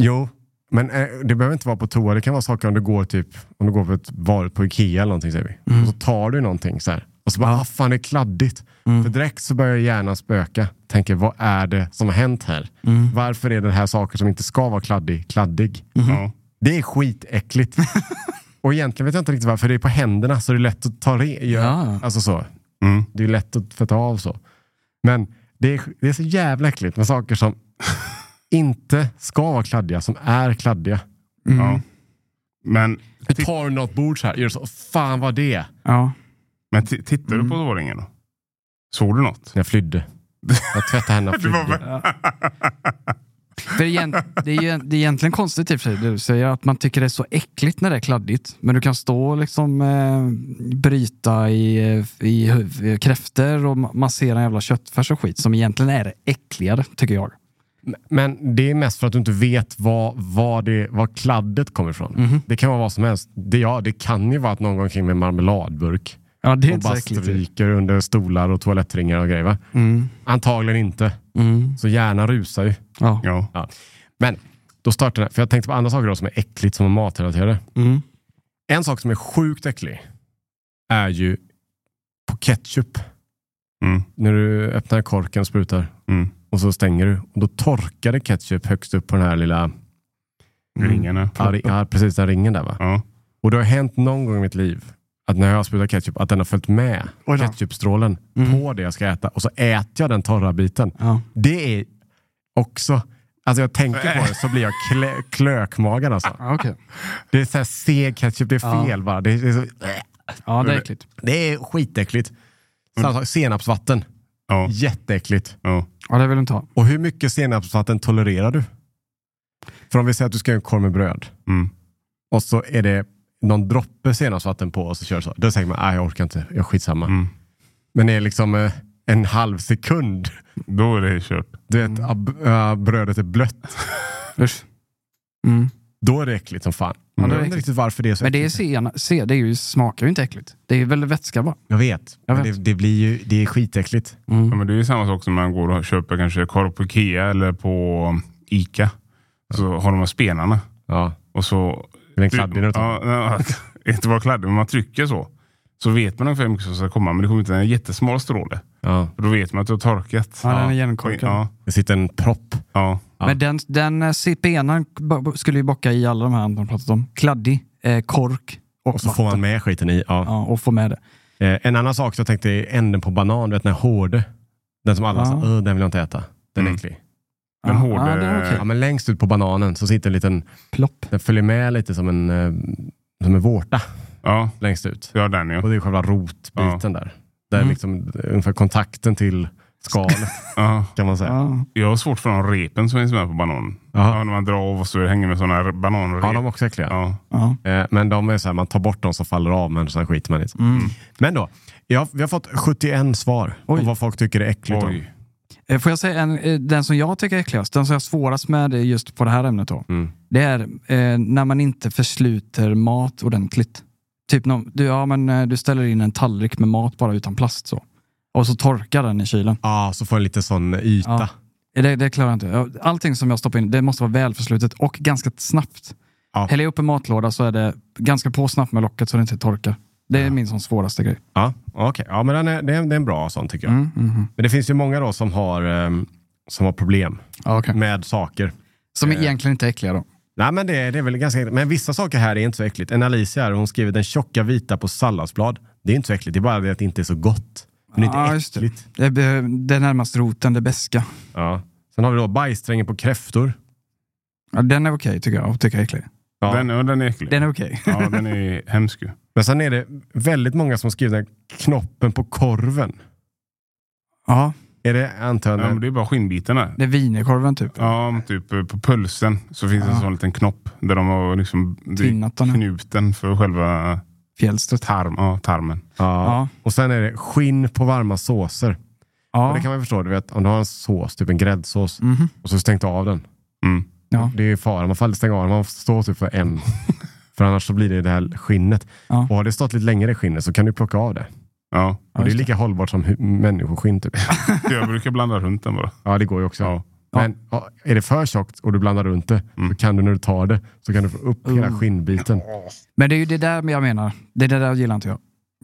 Speaker 1: Jo, men eh, det behöver inte vara på toa. Det kan vara saker om du går typ, om du går på ett varut på Ikea eller någonting säger vi. Och så tar du någonting så här. Och så bara, ah, fan det är kladdigt. För direkt så börjar hjärnan spöka. Tänker, vad är det som har hänt här? Varför är det här saker som inte ska vara kladdig, kladdig?
Speaker 2: Ja.
Speaker 1: Det är skitäckligt. och egentligen vet jag inte riktigt varför. Det är på händerna så det är lätt att ta re- göra.
Speaker 3: Ja.
Speaker 1: Alltså så.
Speaker 2: Mm.
Speaker 1: Det är lätt att tvätta av så. Men det är, det är så jävla äckligt med saker som inte ska vara kladdiga, som är kladdiga.
Speaker 2: Ja. Men,
Speaker 1: Jag tar något bord så här, gör så, fan vad det
Speaker 3: Ja.
Speaker 2: men t- tittar du på tåringen då? Såg du något?
Speaker 1: Jag flydde. Jag tvättade henne och
Speaker 2: Det var
Speaker 1: flydde.
Speaker 2: väl-
Speaker 3: För igen, det, är ju, det är egentligen konstigt i och för sig, det du säger, att man tycker det är så äckligt när det är kladdigt. Men du kan stå och liksom, eh, bryta i, eh, i, huv- i kräftor och ma- massera en jävla köttfärs och skit som egentligen är det äckligare, tycker jag.
Speaker 1: Men det är mest för att du inte vet var, var, det, var kladdet kommer ifrån.
Speaker 3: Mhm.
Speaker 1: Det kan vara vad som helst. Det, ja, det kan ju vara att någon gång kring med en marmeladburk.
Speaker 3: Ja, det är
Speaker 1: och
Speaker 3: inte så
Speaker 1: bara
Speaker 3: äckligt. typ.
Speaker 1: stryker under stolar och toalettringar och grejer. Va?
Speaker 3: Mm.
Speaker 1: Antagligen inte.
Speaker 3: Mm.
Speaker 1: Så hjärnan rusar ju.
Speaker 3: Ja.
Speaker 2: Ja.
Speaker 1: Ja. Men då startade jag, för jag tänkte på andra saker då som är äckligt som är matrelaterade.
Speaker 3: Mm.
Speaker 1: En sak som är sjukt äcklig är ju på ketchup.
Speaker 2: Mm.
Speaker 1: När du öppnar korken och sprutar
Speaker 2: Mm.
Speaker 1: och så stänger du. Och då torkade ketchup högst upp på den här lilla,
Speaker 2: Ringarna.
Speaker 1: ja, ri- ja, precis den ringen där va.
Speaker 2: Ja.
Speaker 1: Och det har hänt någon gång i mitt liv att när jag har sprutat ketchup, att den har följt med
Speaker 3: Oj då. Mm.
Speaker 1: ketchupstrålen på det jag ska äta. Och så äter jag den torra biten.
Speaker 3: Ja.
Speaker 1: Det är också... Alltså jag tänker på det så blir jag klö, klökmagad alltså.
Speaker 3: Ja, okej.
Speaker 1: Det är så här seg ketchup, det är
Speaker 3: Ja.
Speaker 1: fel bara. Det är, det är, så,
Speaker 3: ja, det är äckligt.
Speaker 1: det är skitäckligt.
Speaker 3: Mm.
Speaker 1: Samma sak, senapsvatten,
Speaker 2: Ja.
Speaker 1: Mm. jätteäckligt.
Speaker 2: Ja.
Speaker 3: Ja, det vill du inte ha.
Speaker 1: Och hur mycket senapsvatten tolererar du? För om vi säger att du ska göra en korv med bröd
Speaker 2: Mm.
Speaker 1: och så är det någon droppe senapsvatten på och så kör du så. Då tänker man, nej jag orkar inte, jag skitsamma.
Speaker 2: Mm.
Speaker 1: Men det är liksom eh, en halv sekund.
Speaker 2: Då är det kört.
Speaker 1: Du vet,
Speaker 3: Mm.
Speaker 1: ab- äh, brödet är blött.
Speaker 3: Usch. Mm.
Speaker 1: Då är det äckligt som fan.
Speaker 3: det är
Speaker 1: Jag vet
Speaker 3: äckligt.
Speaker 1: inte riktigt varför det är så
Speaker 3: Men det är
Speaker 1: äckligt.
Speaker 3: sena, se, det är ju, smakar ju inte äckligt. Det är väl vätska bara.
Speaker 1: Jag vet.
Speaker 3: Jag
Speaker 1: Men
Speaker 3: vet.
Speaker 1: Det, det, blir ju, det är skitäckligt.
Speaker 2: Ja, men det är ju samma sak som när man går och köper kanske korv på Ikea eller på Ica. Så har de här spenarna.
Speaker 1: Ja.
Speaker 2: Och så...
Speaker 1: Är den kladdig när du tar
Speaker 2: ja, nej, Inte bara kladdig, men man trycker så. Så vet man ungefär hur mycket som ska komma. Men det kommer inte en jättesmal stråle.
Speaker 1: Ja.
Speaker 2: För Då vet man att du har torkat.
Speaker 3: Ja, den är genomkorkad.
Speaker 2: Ja,
Speaker 1: Det sitter en propp.
Speaker 2: ja.
Speaker 3: Men den, den eh, benan b- b- skulle ju bocka i alla de här Anton pratat om. Kladdig, eh, kork och,
Speaker 1: Och så
Speaker 3: vatten.
Speaker 1: får man med skiten i. Ja.
Speaker 3: Ja, och få med det.
Speaker 1: Eh, en annan sak som jag tänkte är änden på banan. Du vet den här hårde. Den som alla
Speaker 3: Ja.
Speaker 1: sa, "Åh, den vill jag inte äta. Den är
Speaker 2: Mm.
Speaker 1: äcklig.
Speaker 2: Den
Speaker 3: ja,
Speaker 2: hårde-
Speaker 3: Ja, det är okej.
Speaker 1: Ja, men längst ut på bananen så sitter en liten,
Speaker 3: Plopp.
Speaker 1: den följer med lite som en, eh, som en vårta
Speaker 2: Ja,
Speaker 1: längst ut.
Speaker 2: ja den ja.
Speaker 1: Och det är själva rotbiten där. Där
Speaker 3: Mm.
Speaker 1: liksom eh, ungefär kontakten till skalet
Speaker 2: ja.
Speaker 1: kan man säga.
Speaker 3: Ja.
Speaker 2: Jag har svårt för de repen som finns med på bananen.
Speaker 1: Jaha.
Speaker 2: Ja, när man drar av och så är det hänger med sådana här bananrep.
Speaker 1: Ja, de är också äckliga.
Speaker 2: ja.
Speaker 3: Ja.
Speaker 1: Eh, Men de är så här, man tar bort dem så faller av, men sen skiter man i det.
Speaker 3: Mm.
Speaker 1: Men då, jag, vi har fått 71 svar
Speaker 3: Oj.
Speaker 1: om vad folk tycker är äckligt. om.
Speaker 2: Oj.
Speaker 3: Eh, Får jag säga en, eh, den som jag tycker är äckligast, den som jag har svårast med eh, just på det här ämnet då.
Speaker 1: Mm.
Speaker 3: Det är eh, när man inte försluter mat ordentligt. Typ någon, du, ja, men, eh, du ställer in en tallrik med mat bara utan plast så. Och så torkar den i kylen.
Speaker 1: Ja, så får en lite sån yta.
Speaker 3: Ja. Det, det klarar jag inte. Jag- Allting som jag stoppar in, det måste vara välförslutet och ganska snabbt.
Speaker 1: Ja.
Speaker 3: Häller jag upp en matlåda så är det ganska på snabbt med locket så det inte torkar. Det är min sån svåraste grej.
Speaker 1: Ja, okej. Ja, men den är, det, är, det är en bra sån tycker jag. Men det finns ju många då som har, ehm, som har problem med saker.
Speaker 3: Som egentligen inte är äckliga då.
Speaker 1: Nej, men det, det är väl ganska Men vissa saker här är inte så äckligt. En Alicia här, hon skriver den tjocka vita på salladsblad. Det är inte så äckligt, det är bara det att det inte är så gott. Men det är
Speaker 3: Ja,
Speaker 1: inte
Speaker 3: just det.
Speaker 1: äckligt.
Speaker 3: Det är, be- det är närmast roten, det beska.
Speaker 1: Ja. Sen har vi då bajsträngen på kräftor.
Speaker 3: Ja, den är okej tycker jag, och tycker jag är äcklig.
Speaker 1: Ja.
Speaker 2: Den, ja, den är äcklig.
Speaker 3: Den är okej.
Speaker 2: Ja, den är hemsk ju.
Speaker 1: Men sen är det väldigt många som skriver den knoppen på korven.
Speaker 3: Ja,
Speaker 1: Är det
Speaker 2: Ja, men
Speaker 1: antagligen?
Speaker 2: det är bara skinnbitarna.
Speaker 3: det är wienerkorven typ.
Speaker 2: Ja, men typ eh, på pulsen så finns en sån liten knopp där de har liksom det är
Speaker 3: Tinnat den.
Speaker 2: knuten för själva
Speaker 3: Fjällstret.
Speaker 2: tarm, ja, tarmen.
Speaker 1: Ja.
Speaker 3: Ja.
Speaker 1: Och sen är det skinn på varma såser. Och
Speaker 3: Ja.
Speaker 1: det kan man ju förstå, du vet, om du har en sås, typ en gräddsås,
Speaker 3: Mhm.
Speaker 1: och så stängt av den.
Speaker 2: Mm.
Speaker 3: Ja.
Speaker 1: Det är ju fara, man får aldrig stänga av den, man får stå typ för en. för annars så blir det det här skinnet.
Speaker 3: Ja.
Speaker 1: Och har det stått lite längre i skinnet så kan du plocka av det.
Speaker 2: Ja.
Speaker 1: Och det är
Speaker 3: just
Speaker 1: lika hållbart som hu- människoskinn typ.
Speaker 2: Jag brukar blanda runt den bara.
Speaker 1: Ja, det går ju också.
Speaker 2: Ja. Mm.
Speaker 1: Men ja, är det för tjockt och du blandar runt det, så kan du när du tar det, så kan du få upp
Speaker 3: Oh.
Speaker 1: hela skinnbiten.
Speaker 3: Men det är ju det där jag menar. Det är det där gillar inte jag.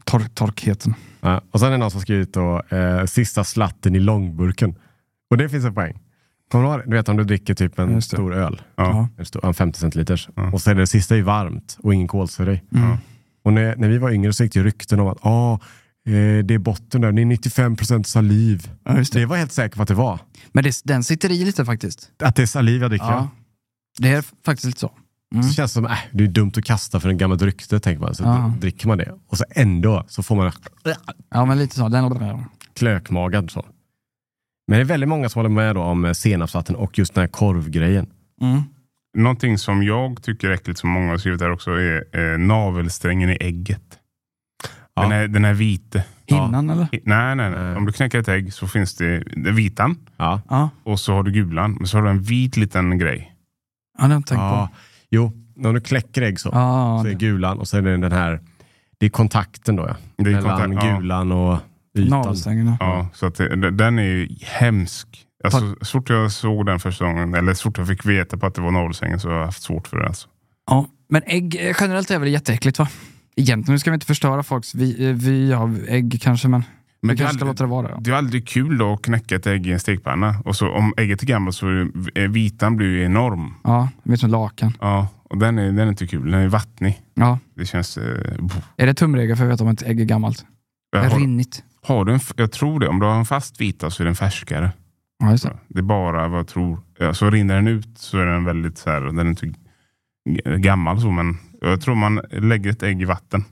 Speaker 3: Tor torkheten.
Speaker 1: Ja, och sen är det någon som skrivit då, eh, sista slatten i långburken. Och det finns en poäng. Kommer du ihåg, du vet om du dricker typ en
Speaker 3: Just det.
Speaker 1: stor öl,
Speaker 3: Ja.
Speaker 1: en stor- en 50 centiliters, och så är det sista i varmt och ingen kolsyra i.
Speaker 3: Mm.
Speaker 1: Och när, när vi var yngre så gick det rykten om att ah, eh, det är botten där, det är 95% saliv.
Speaker 3: Ja, just
Speaker 1: Det var jag helt säker på att det var.
Speaker 3: Men det, den sitter i lite faktiskt.
Speaker 1: Att det är saliv jag dricker.
Speaker 3: Ja. Det är faktiskt lite så.
Speaker 1: Så känns det som, äh, det är dumt att kasta för en gammalt rykte, tänker man. Så
Speaker 3: Ja.
Speaker 1: dricker man det. Och så ändå så får man
Speaker 3: Ja, men lite så. Den
Speaker 1: klökmagad. Så. Men det är väldigt många som håller med då om eh, senapsvatten och just den här korvgrejen.
Speaker 3: mm.
Speaker 2: Någonting som jag tycker är äckligt, som många har skrivit här också, är eh, navelsträngen i ägget.
Speaker 1: Ja. Eh.
Speaker 2: Den, är, den är vite.
Speaker 3: Innan eller?
Speaker 2: I- Nej, nej, nej.
Speaker 1: Nej.
Speaker 2: Om du knäcker ett ägg så finns det det är vitan
Speaker 1: Ja.
Speaker 3: Ja,
Speaker 2: och så har du gulan. Men så har du en vit liten grej.
Speaker 3: ja det har jag inte tänkt
Speaker 1: ja.
Speaker 3: på.
Speaker 1: Jo, när du kläcker ägg så,
Speaker 3: Ja,
Speaker 1: så är
Speaker 3: det-
Speaker 1: gulan och så är det den här, det är kontakten då ja.
Speaker 2: Det är
Speaker 1: Mellan
Speaker 2: kontakt- ja.
Speaker 1: gulan och ytan.
Speaker 3: Navelsträngen. ja.
Speaker 2: Ja, så att det, den är ju hemsk. Alltså, så fort jag såg den första gången, eller så fort jag fick veta på att det var navelsträngen så har jag haft svårt för det. Alltså.
Speaker 3: Ja. Men ägg eh, generellt är väl jätteäckligt va? Egentligen nu ska vi inte förstöra folks vi, eh, vy av ägg kanske, men, vi
Speaker 2: det är
Speaker 3: kanske ska
Speaker 2: aldrig-
Speaker 3: låta det vara. Ja.
Speaker 2: Det är aldrig kul då att knäcka ett ägg i en stekpanna. Och så, om ägget är gammalt så är är vitan blir ju enorm.
Speaker 3: ja, det blir som lakan.
Speaker 2: Ja, och den är, den är inte kul. Den är vattnig.
Speaker 3: Ja.
Speaker 2: Det känns... Eh, pff.
Speaker 3: Är det tumregel för att veta om ett ägg är gammalt?
Speaker 2: har,
Speaker 3: Rinnigt.
Speaker 2: har du en, f- jag tror det. Om du har en fast vita så är den färskare.
Speaker 3: Ja, just det.
Speaker 2: Det är bara vad jag tror. Ja, så rinner den ut så är den väldigt så här, den är inte g- gammal så men jag tror man lägger ett ägg i vatten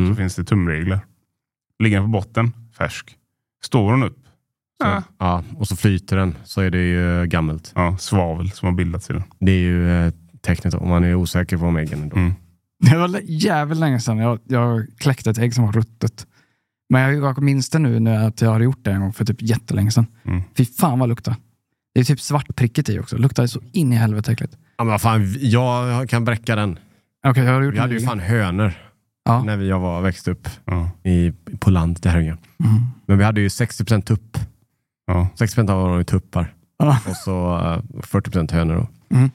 Speaker 1: Mm.
Speaker 2: så finns det tumregler. Ligger den på botten, färsk. Står den upp,
Speaker 1: Så, ja, och så flyter den, så är det ju eh, gammalt.
Speaker 2: ja, svavel som har bildats i den.
Speaker 1: Det är ju eh, tecknet om man är osäker på om äggen är då.
Speaker 2: Mm.
Speaker 3: Det var jävligt länge sedan jag, jag kläckte ett ägg som var ruttet. Men jag, jag minns det nu, nu att jag hade gjort det en gång för typ jättelänge sedan.
Speaker 2: Mm.
Speaker 3: Fy fan vad det luktar. Det är typ svartprickigt i också. Luktar så in i helvete äckligt.
Speaker 1: Ja, men vad fan, jag kan bräcka den.
Speaker 3: Okej, jag har gjort
Speaker 1: Vi hade ju
Speaker 3: nyligen.
Speaker 1: fan hönor
Speaker 3: Ja.
Speaker 1: när vi- jag var, växte upp
Speaker 2: Ja,
Speaker 1: i, på land till Herrljunga.
Speaker 3: Mm.
Speaker 1: Men vi hade ju 60% tupp.
Speaker 2: ja.
Speaker 1: 60% av dem var ju tuppar.
Speaker 3: Ja.
Speaker 1: Och så eh, 40% hönor. Då.
Speaker 3: Mm.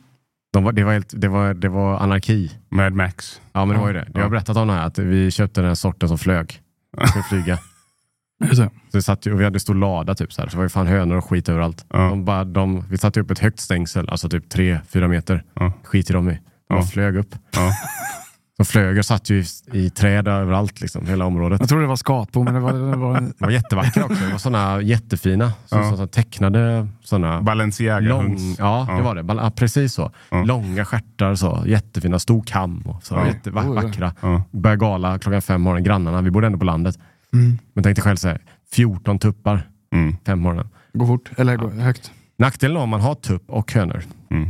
Speaker 1: De var, det, var helt, det, var, det var anarki.
Speaker 2: Mad Max.
Speaker 1: Ja, men det var ju det. Jag har
Speaker 2: Ja.
Speaker 1: berättat om det här, att vi köpte den här sorten som flög. För att flyga.
Speaker 3: Just det.
Speaker 1: Så vi, satt, ju- och vi hade en stor lada typ så här. Så det var ju fan hönor och skit överallt.
Speaker 2: Ja.
Speaker 1: De bara, de, vi satte upp ett högt stängsel, alltså typ 3-4 meter.
Speaker 2: Ja.
Speaker 1: Skit i dem i. De bara
Speaker 2: Ja.
Speaker 1: flög upp.
Speaker 2: Ja.
Speaker 1: De flög och satt ju i, i träd överallt, liksom, hela området.
Speaker 3: Jag trodde det var skatbo, men det var, det var en...
Speaker 1: De var jättevackra också. De var sådana jättefina. Så,
Speaker 2: Ja.
Speaker 1: så, så, tecknade sådana...
Speaker 2: Balenciaga
Speaker 1: Lång,
Speaker 2: hunds.
Speaker 1: ja, det
Speaker 2: Ja.
Speaker 1: var det. Bal- Ja, precis så.
Speaker 2: Ja.
Speaker 1: Långa stjärtar så. Jättefina. Stor kam. Och så.
Speaker 2: Ja.
Speaker 1: Jättevackra.
Speaker 3: Oj, oj.
Speaker 1: vackra.
Speaker 2: Ja.
Speaker 1: Började gala klockan fem på morgonen. Grannarna, vi bodde ändå på landet.
Speaker 3: Mm.
Speaker 1: Men tänkte själv så här, 14 tuppar
Speaker 2: Mm.
Speaker 1: fem på morgonen.
Speaker 3: Gå fort, eller gå högt.
Speaker 1: Nackdelen om man har tupp och hönor
Speaker 2: Mm.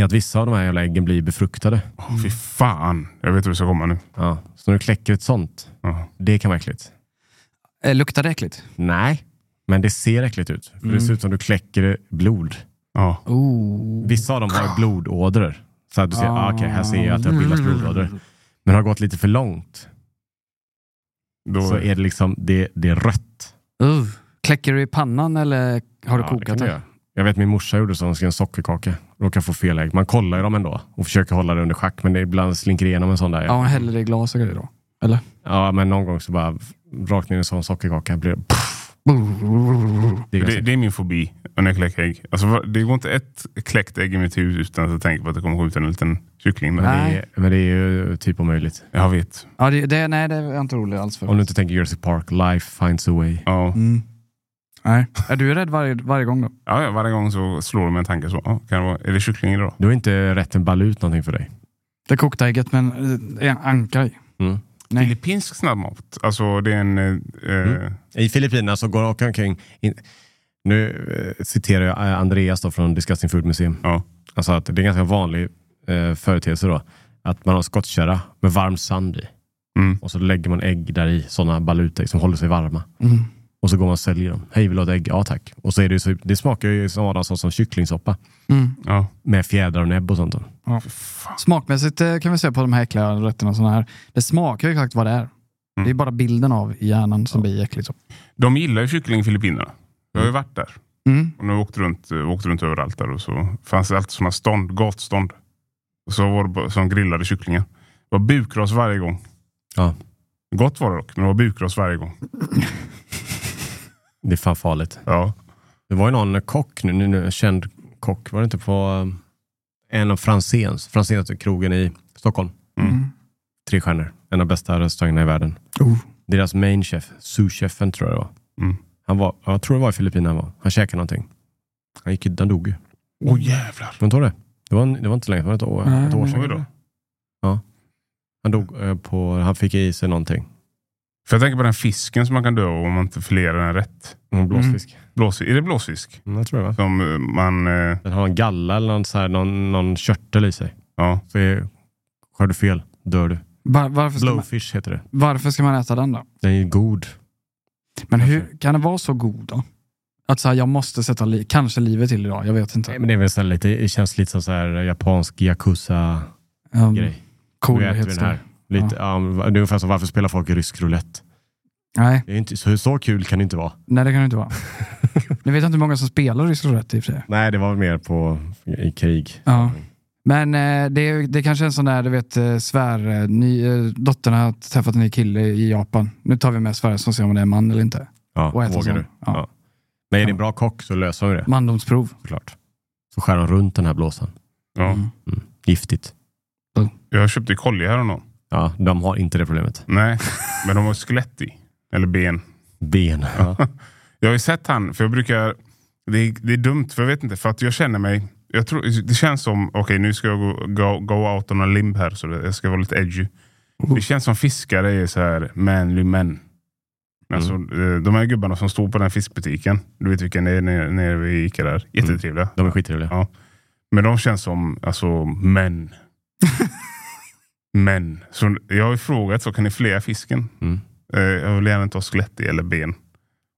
Speaker 1: är att vissa av de här jävla äggen blir befruktade.
Speaker 2: Åh, fy fan, jag vet hur det ska komma nu.
Speaker 1: Ja. Så när du kläcker ett sånt,
Speaker 2: Ja.
Speaker 1: det kan vara äckligt.
Speaker 3: Eh, luktar det äckligt?
Speaker 1: Nej, men det ser äckligt ut. För
Speaker 3: Mm.
Speaker 1: Det ser ut som du kläcker blod.
Speaker 2: Ja.
Speaker 3: Oh.
Speaker 1: Vissa av dem har ju blodådror. Så att du ser,
Speaker 3: Ah. Mm.
Speaker 1: ah. okej, här ser jag att det har bildats blodådror. Men har gått lite för långt
Speaker 2: Då,
Speaker 1: så är det liksom, det, det är rött.
Speaker 3: Uh. Kläcker du i pannan eller har du kokat
Speaker 1: det? kan
Speaker 3: det?
Speaker 1: du göra. Jag vet min morsa gjorde så, hon skrev en sockerkaka. Råkade få fel ägg. Man kollar ju dem ändå och försöker hålla det under schack, men det ibland slinker igenom en sån där.
Speaker 3: Ja, hon häller i glas och grejer då. Eller?
Speaker 1: Ja, men någon gång så bara rakt ner i en sån sockerkaka blir det... Det är
Speaker 3: Alltså.
Speaker 2: Det,
Speaker 1: ganska-
Speaker 2: det är min fobi, när jag kläcker ägg. Alltså, va- det går inte ett kläckt ägg i mitt hus utan att jag tänker på att det kommer gå ut en liten kyckling. Men
Speaker 3: Nej.
Speaker 2: det,
Speaker 1: det är- Men det är ju typ omöjligt.
Speaker 2: jag vet.
Speaker 3: Ja, det, det, nej, det är jag inte rolig alls för.
Speaker 1: Om du inte tänker Jurassic Park, life finds a way.
Speaker 2: Ja.
Speaker 3: Mm. Nej. Är du rädd varje, varje gång då?
Speaker 2: Ja, ja, varje gång så slår de en tanke så. Ja, kan det vara, är det kyckling idag?
Speaker 1: Du har inte rätten balut någonting för dig.
Speaker 3: Det kokta ägget men eh, en anka i. Nej. Mm.
Speaker 2: Filippinsk snabbmat. Alltså det är en... Eh, eh,
Speaker 1: I Filippinerna så går åker omkring... In, nu eh, citerar jag eh, Andreas då från Disgusting Food Museum.
Speaker 2: Ja.
Speaker 1: Alltså att det är en ganska vanlig eh, företeelse då. Att man har en skottkärra med varm sand i.
Speaker 2: Mm.
Speaker 1: Och så lägger man ägg där i, sådana balutägg som håller sig varma.
Speaker 3: Mm.
Speaker 1: Och så går man och säljer dem. Hej, vill du ha ett ägg? Ja tack. Och så är det, ju så, det smakar ju som Adam sa, som kycklingsoppa.
Speaker 3: Mm.
Speaker 2: ja.
Speaker 1: Med fjädrar och näbb och sånt. då.
Speaker 3: Smakmässigt eh, kan vi se på de här äckliga rätterna. Såna här. Det smakar ju exakt vad det är. Det
Speaker 1: Mm.
Speaker 3: är bara bilden av i hjärnan som blir äcklig. Så.
Speaker 2: De gillar ju kyckling i Filippinerna. Jag har ju varit där.
Speaker 3: Mm.
Speaker 2: Och nu åkt runt, eh, åkt runt överallt där och så fanns det alltid sådana stånd, gatstånd. Och så var det bara- som grillade kycklingar. Det var bukras varje gång.
Speaker 1: Ja.
Speaker 2: Gott var det dock, men det var bukras varje gång.
Speaker 1: Det är fan farligt.
Speaker 2: Ja.
Speaker 1: Det var ju någon kock, nu, nu- nu, en känd kock, var det inte på um, en av Franzéns, Franzéns är krogen i Stockholm.
Speaker 2: Mm.
Speaker 1: Tre stjärnor, en av bästa restaurangerna i världen.
Speaker 3: Oh.
Speaker 1: Deras main chef, souschefen tror jag det var.
Speaker 2: Mm.
Speaker 1: Han var, jag tror det var i Filippinerna han var. Han käkade någonting. Han gick ju- han dog ju.
Speaker 2: Åh jävlar.
Speaker 1: Men du det? Det var, en- det var inte länge, det var ett år,
Speaker 3: Nej,
Speaker 1: ett år
Speaker 3: nej.
Speaker 1: sedan.
Speaker 2: Oj då.
Speaker 1: Han dog eh, på, han fick i sig någonting.
Speaker 2: För jag tänker på den fisken som man kan dö av om man inte filerar den rätt.
Speaker 1: En blåsfisk.
Speaker 2: Blåsfisk. Är det blåsfisk?
Speaker 1: Mm, jag tror det va?
Speaker 2: Som eh, man... Eh,
Speaker 1: Den har en galla eller någon, så här, någon, någon körtel i sig.
Speaker 2: ja.
Speaker 1: Så är, skär du fel, dör du.
Speaker 3: Var, varför, ska man,
Speaker 1: Blowfish heter det.
Speaker 3: varför ska man äta den då?
Speaker 1: Den är ju god.
Speaker 3: Men hur kan den vara så god då? Att så här, jag måste sätta li- kanske livet till idag, jag vet inte.
Speaker 1: Nej, men det, är väl så här lite, det känns lite som så här japansk yakuza-grej.
Speaker 3: Um,
Speaker 1: Nu äter vi den här. Lite, Mm, ja. men det är ungefär som varför spelar folk i rysk roulette?
Speaker 3: Nej,
Speaker 1: Det är inte, så, så kul kan det inte vara.
Speaker 3: nej, det kan det inte vara. nu vet jag inte hur många som spelar rysk roulette i och för sig.
Speaker 1: Nej, det var väl mer på, i krig.
Speaker 3: Ja. Men eh, det, är, det är kanske är en sån där, du vet, eh, svär, eh, ny, eh, dottern har träffat en ny kille i Japan. Nu tar vi med Sverige som ser om det är man eller inte.
Speaker 1: Ja,
Speaker 3: Och äta
Speaker 1: vågar
Speaker 3: sån.
Speaker 1: du?
Speaker 3: Ja.
Speaker 1: Ja. Men är det en bra kock så löser vi det
Speaker 3: Mandomsprov.
Speaker 1: såklart. Så skär de runt den här blåsan.
Speaker 2: ja.
Speaker 3: Mm.
Speaker 1: Mm. Giftigt.
Speaker 2: Jag köpte kolja häromdagen.
Speaker 1: Ja, de har inte det problemet.
Speaker 2: Nej, men de har skelett i. Eller ben.
Speaker 1: Ben. Ja.
Speaker 2: Jag har ju sett han, för jag brukar... Det är, det är dumt, för jag vet inte. För att jag känner mig... Jag tror, det känns som... Okej, nu ska jag gå, go, go out on a limb här. Så det, jag ska vara lite edgy. Det känns som fiskare är så här manly men. Alltså, eh, De här gubbarna som står på den här fiskbutiken. Du vet vilka det är nere, nere vid Ica där. Jättetrevliga.
Speaker 1: De är skittrevliga.
Speaker 2: Men de känns som alltså, män. män. Så jag har ju frågat, så kan ni flera fisken?
Speaker 1: Mm.
Speaker 2: Eh, Jag vill gärna inte ha skelett i eller ben.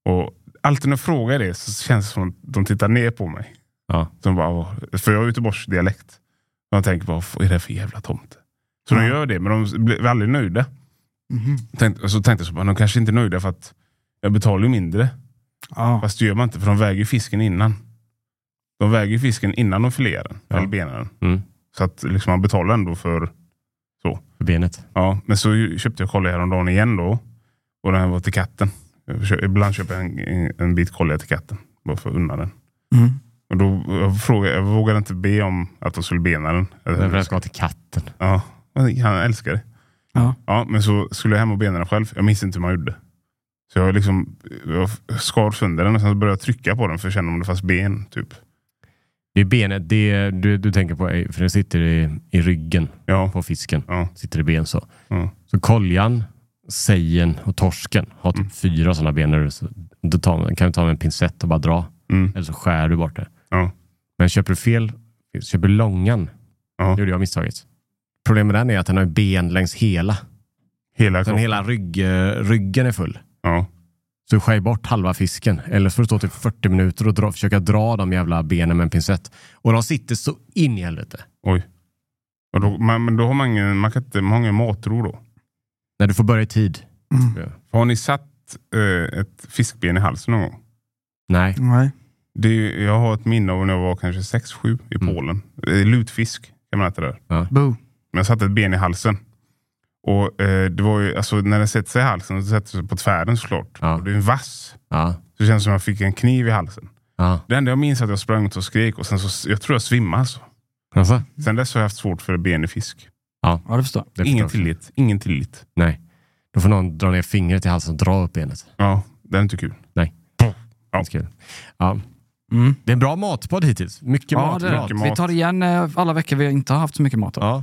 Speaker 2: Och alltid när jag frågar det så känns det som att de tittar ner på mig.
Speaker 1: Ja.
Speaker 2: De bara, "Åh." för jag har Göteborgsdialekt. Och jag tänker, vad är det för jävla tomte? Så de gör det, men de blir aldrig nöjda.
Speaker 1: Mhm.
Speaker 2: Tänkte, så tänkte jag, så bara, de kanske inte är nöjda för att jag betalar ju mindre.
Speaker 3: Ja.
Speaker 2: Fast det gör man inte, för de väger ju fisken innan. De väger ju fisken innan de filerar den,
Speaker 1: Ja.
Speaker 2: eller benar den.
Speaker 1: Mm.
Speaker 2: Så att liksom, man betalar ändå för...
Speaker 1: För benet.
Speaker 2: Ja, men så ju- köpte jag kolja häromdagen igen då. Och den här var till katten. Jag kö- Ibland köper jag en, en- en bit kolja till katten. Bara för att unna den.
Speaker 3: Mm.
Speaker 2: Och då jag frågade, jag vågade inte be om att de skulle bena den.
Speaker 1: Den för den ska till katten.
Speaker 2: Ja, men han älskar det.
Speaker 3: Ja.
Speaker 2: Ja, men så skulle jag hem och bena den själv. Jag minns inte hur man gjorde. Så jag liksom jag skar sönder den och sen så började jag trycka på den för att känna om det fanns ben. Typ.
Speaker 1: Det är benet det du, du tänker på, är- för det sitter i, i ryggen
Speaker 2: Ja.
Speaker 1: på fisken.
Speaker 2: Ja.
Speaker 1: Sitter i ben så.
Speaker 2: Ja.
Speaker 1: Så koljan, sejen och torsken har
Speaker 2: Mm.
Speaker 1: typ fyra sådana ben. Där du, så, då tar, man- kan du ta med en pincett och bara dra.
Speaker 2: Mm.
Speaker 1: Eller så skär du bort det.
Speaker 2: Ja.
Speaker 1: Men köper du fel, köper du långan,
Speaker 2: Ja.
Speaker 1: då gjorde jag misstaget. Problemet med den är att den har ju ben längs hela. Så
Speaker 2: Hela
Speaker 1: den
Speaker 2: kroppen.
Speaker 1: hela rygg, eh, ryggen är full.
Speaker 2: Ja.
Speaker 1: Så du skär bort halva fisken. Eller så får du stå typ 40 minuter och dra, försöka dra de jävla benen med en pincett. Och de sitter så in i helvete.
Speaker 2: Oj. Och då, man, men då har man ingen, man kan inte, man har ingen matro då.
Speaker 1: När du får börja i tid.
Speaker 2: Har ni satt eh, ett fiskben i halsen någon gång?
Speaker 1: Nej,
Speaker 3: Nej.
Speaker 2: Det är, ju- jag har ett minne av när jag var kanske 6-7 i
Speaker 1: Mm.
Speaker 2: Polen. Eh, Lutfisk kan man äta där.
Speaker 3: Boo.
Speaker 2: Men jag satte ett ben i halsen. Och eh, det var ju, alltså, när den sätter sig i halsen så sätter den sig på tvären såklart.
Speaker 1: Ja.
Speaker 2: Och det är en vass.
Speaker 1: Ja.
Speaker 2: Så det känns som att jag fick en kniv i halsen.
Speaker 1: Ja.
Speaker 2: Det enda jag minns är att jag sprang ut och skrek och sen så, jag tror jag svimmade. Alltså.
Speaker 1: Alltså,
Speaker 2: Sen dess har jag haft svårt för ben i fisk.
Speaker 3: Ja, det förstår jag.
Speaker 1: det
Speaker 2: Ingen
Speaker 1: förstår jag.
Speaker 2: tillit. Ingen tillit.
Speaker 1: Nej. Då får någon dra ner fingret i halsen och dra upp benet.
Speaker 2: Ja, det är inte kul.
Speaker 1: Ja. Kul. Ja.
Speaker 3: Mm.
Speaker 1: Det är en bra matpodd hittills. Mycket
Speaker 3: Ja,
Speaker 1: mat.
Speaker 3: det är
Speaker 1: mat.
Speaker 3: det.
Speaker 2: mat.
Speaker 3: Vi tar igen eh, alla veckor vi inte har haft så mycket mat.
Speaker 1: Ja.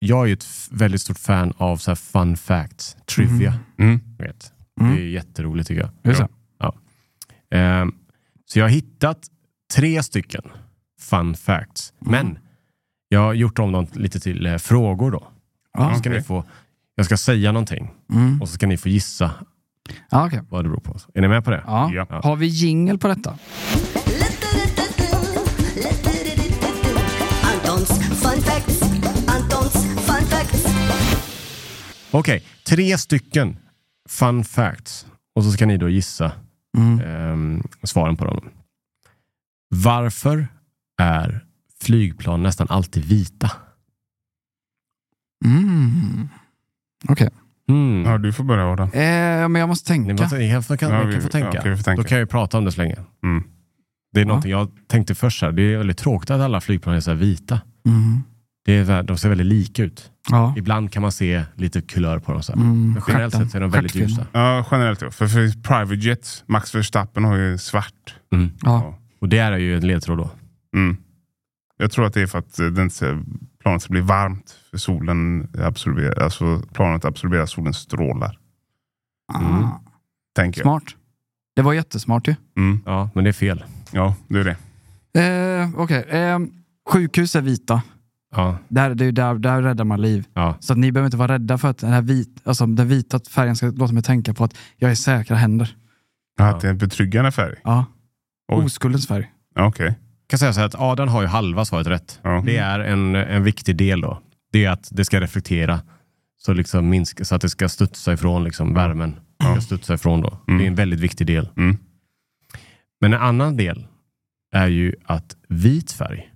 Speaker 1: Jag är ju ett f- väldigt stort fan av så här fun facts, trivia.
Speaker 2: Mm.
Speaker 1: Vet.
Speaker 3: Mm.
Speaker 1: Det är jätteroligt tycker jag.
Speaker 3: Just det.
Speaker 1: Ja. Ehm, så jag har hittat tre stycken fun facts. Men jag har gjort om dem lite till eh, frågor då.
Speaker 3: Ja,
Speaker 1: Så ska ni få, jag ska säga någonting
Speaker 3: Ah, Mm.
Speaker 1: och så ska ni få gissa
Speaker 3: Ja, okej.
Speaker 1: vad det beror på. Är ni med på det?
Speaker 3: Ja.
Speaker 2: Ja.
Speaker 3: Har vi jingel på detta?
Speaker 4: Anton's fun facts. Anton's fun facts.
Speaker 1: Okej, tre stycken fun facts. Och så ska ni då gissa
Speaker 3: Mm.
Speaker 1: ehm, svaren på dem. Varför är flygplan nästan alltid vita?
Speaker 3: Mm. Okej.
Speaker 1: Mm.
Speaker 2: Ja, du får börja Adam.
Speaker 3: Eh, men jag måste
Speaker 1: Ni
Speaker 3: tänka.
Speaker 1: måste, ni kan, kan,
Speaker 2: Ja,
Speaker 1: ni
Speaker 2: vi-
Speaker 1: kan få tänka.
Speaker 2: ja, okej, vi får tänka.
Speaker 1: Då kan jag ju prata om det så länge.
Speaker 2: Mm.
Speaker 1: Det är någonting jag tänkte först här. Det är väldigt tråkigt att alla flygplan är så här vita.
Speaker 3: Mm.
Speaker 1: Det är, så här- de ser väldigt lika ut.
Speaker 3: Ja.
Speaker 1: Ibland kan man se lite kulör på dem. Så här.
Speaker 3: Mm.
Speaker 1: Men generellt sett så är de väldigt
Speaker 3: Stjärtfilm.
Speaker 1: ljusa.
Speaker 2: Ja, generellt ja. För, för private jets, Max Verstappen har ju svart.
Speaker 1: Mm.
Speaker 3: Ja.
Speaker 1: Och det är ju en ledtråd då.
Speaker 2: Mm. Jag tror att det är för att eh, den ser, planet ska bli varmt. För solen absorberar, alltså planet absorberar solens strålar.
Speaker 3: Ah.
Speaker 2: Tänker jag.
Speaker 3: Smart. Det var jättesmart ju.
Speaker 2: Mm.
Speaker 1: Ja, men det är fel.
Speaker 2: Ja, det är det.
Speaker 3: Eh, Okej. Eh, sjukhus är vita.
Speaker 1: Ja,
Speaker 3: Där, det är ju där, där räddar man liv.
Speaker 1: ja.
Speaker 3: Så att ni behöver inte vara rädda för att den här vit, alltså, den vita färgen ska låta mig tänka på att jag är i säkra händer.
Speaker 2: Ja, Att det är en betryggande färg.
Speaker 3: Ja.
Speaker 2: Oj.
Speaker 3: Oskuldens färg.
Speaker 2: Ja, Okej.
Speaker 1: kan säga så här att Adam har ju halva svaret rätt.
Speaker 2: Ja.
Speaker 1: Det är en, en viktig del då. Det är att det ska reflektera så, liksom minska, så att det ska studsa ifrån liksom, värmen. Det ska studsa ifrån då. Det är en väldigt viktig del.
Speaker 2: Mm.
Speaker 1: Men en annan del är ju att vit färg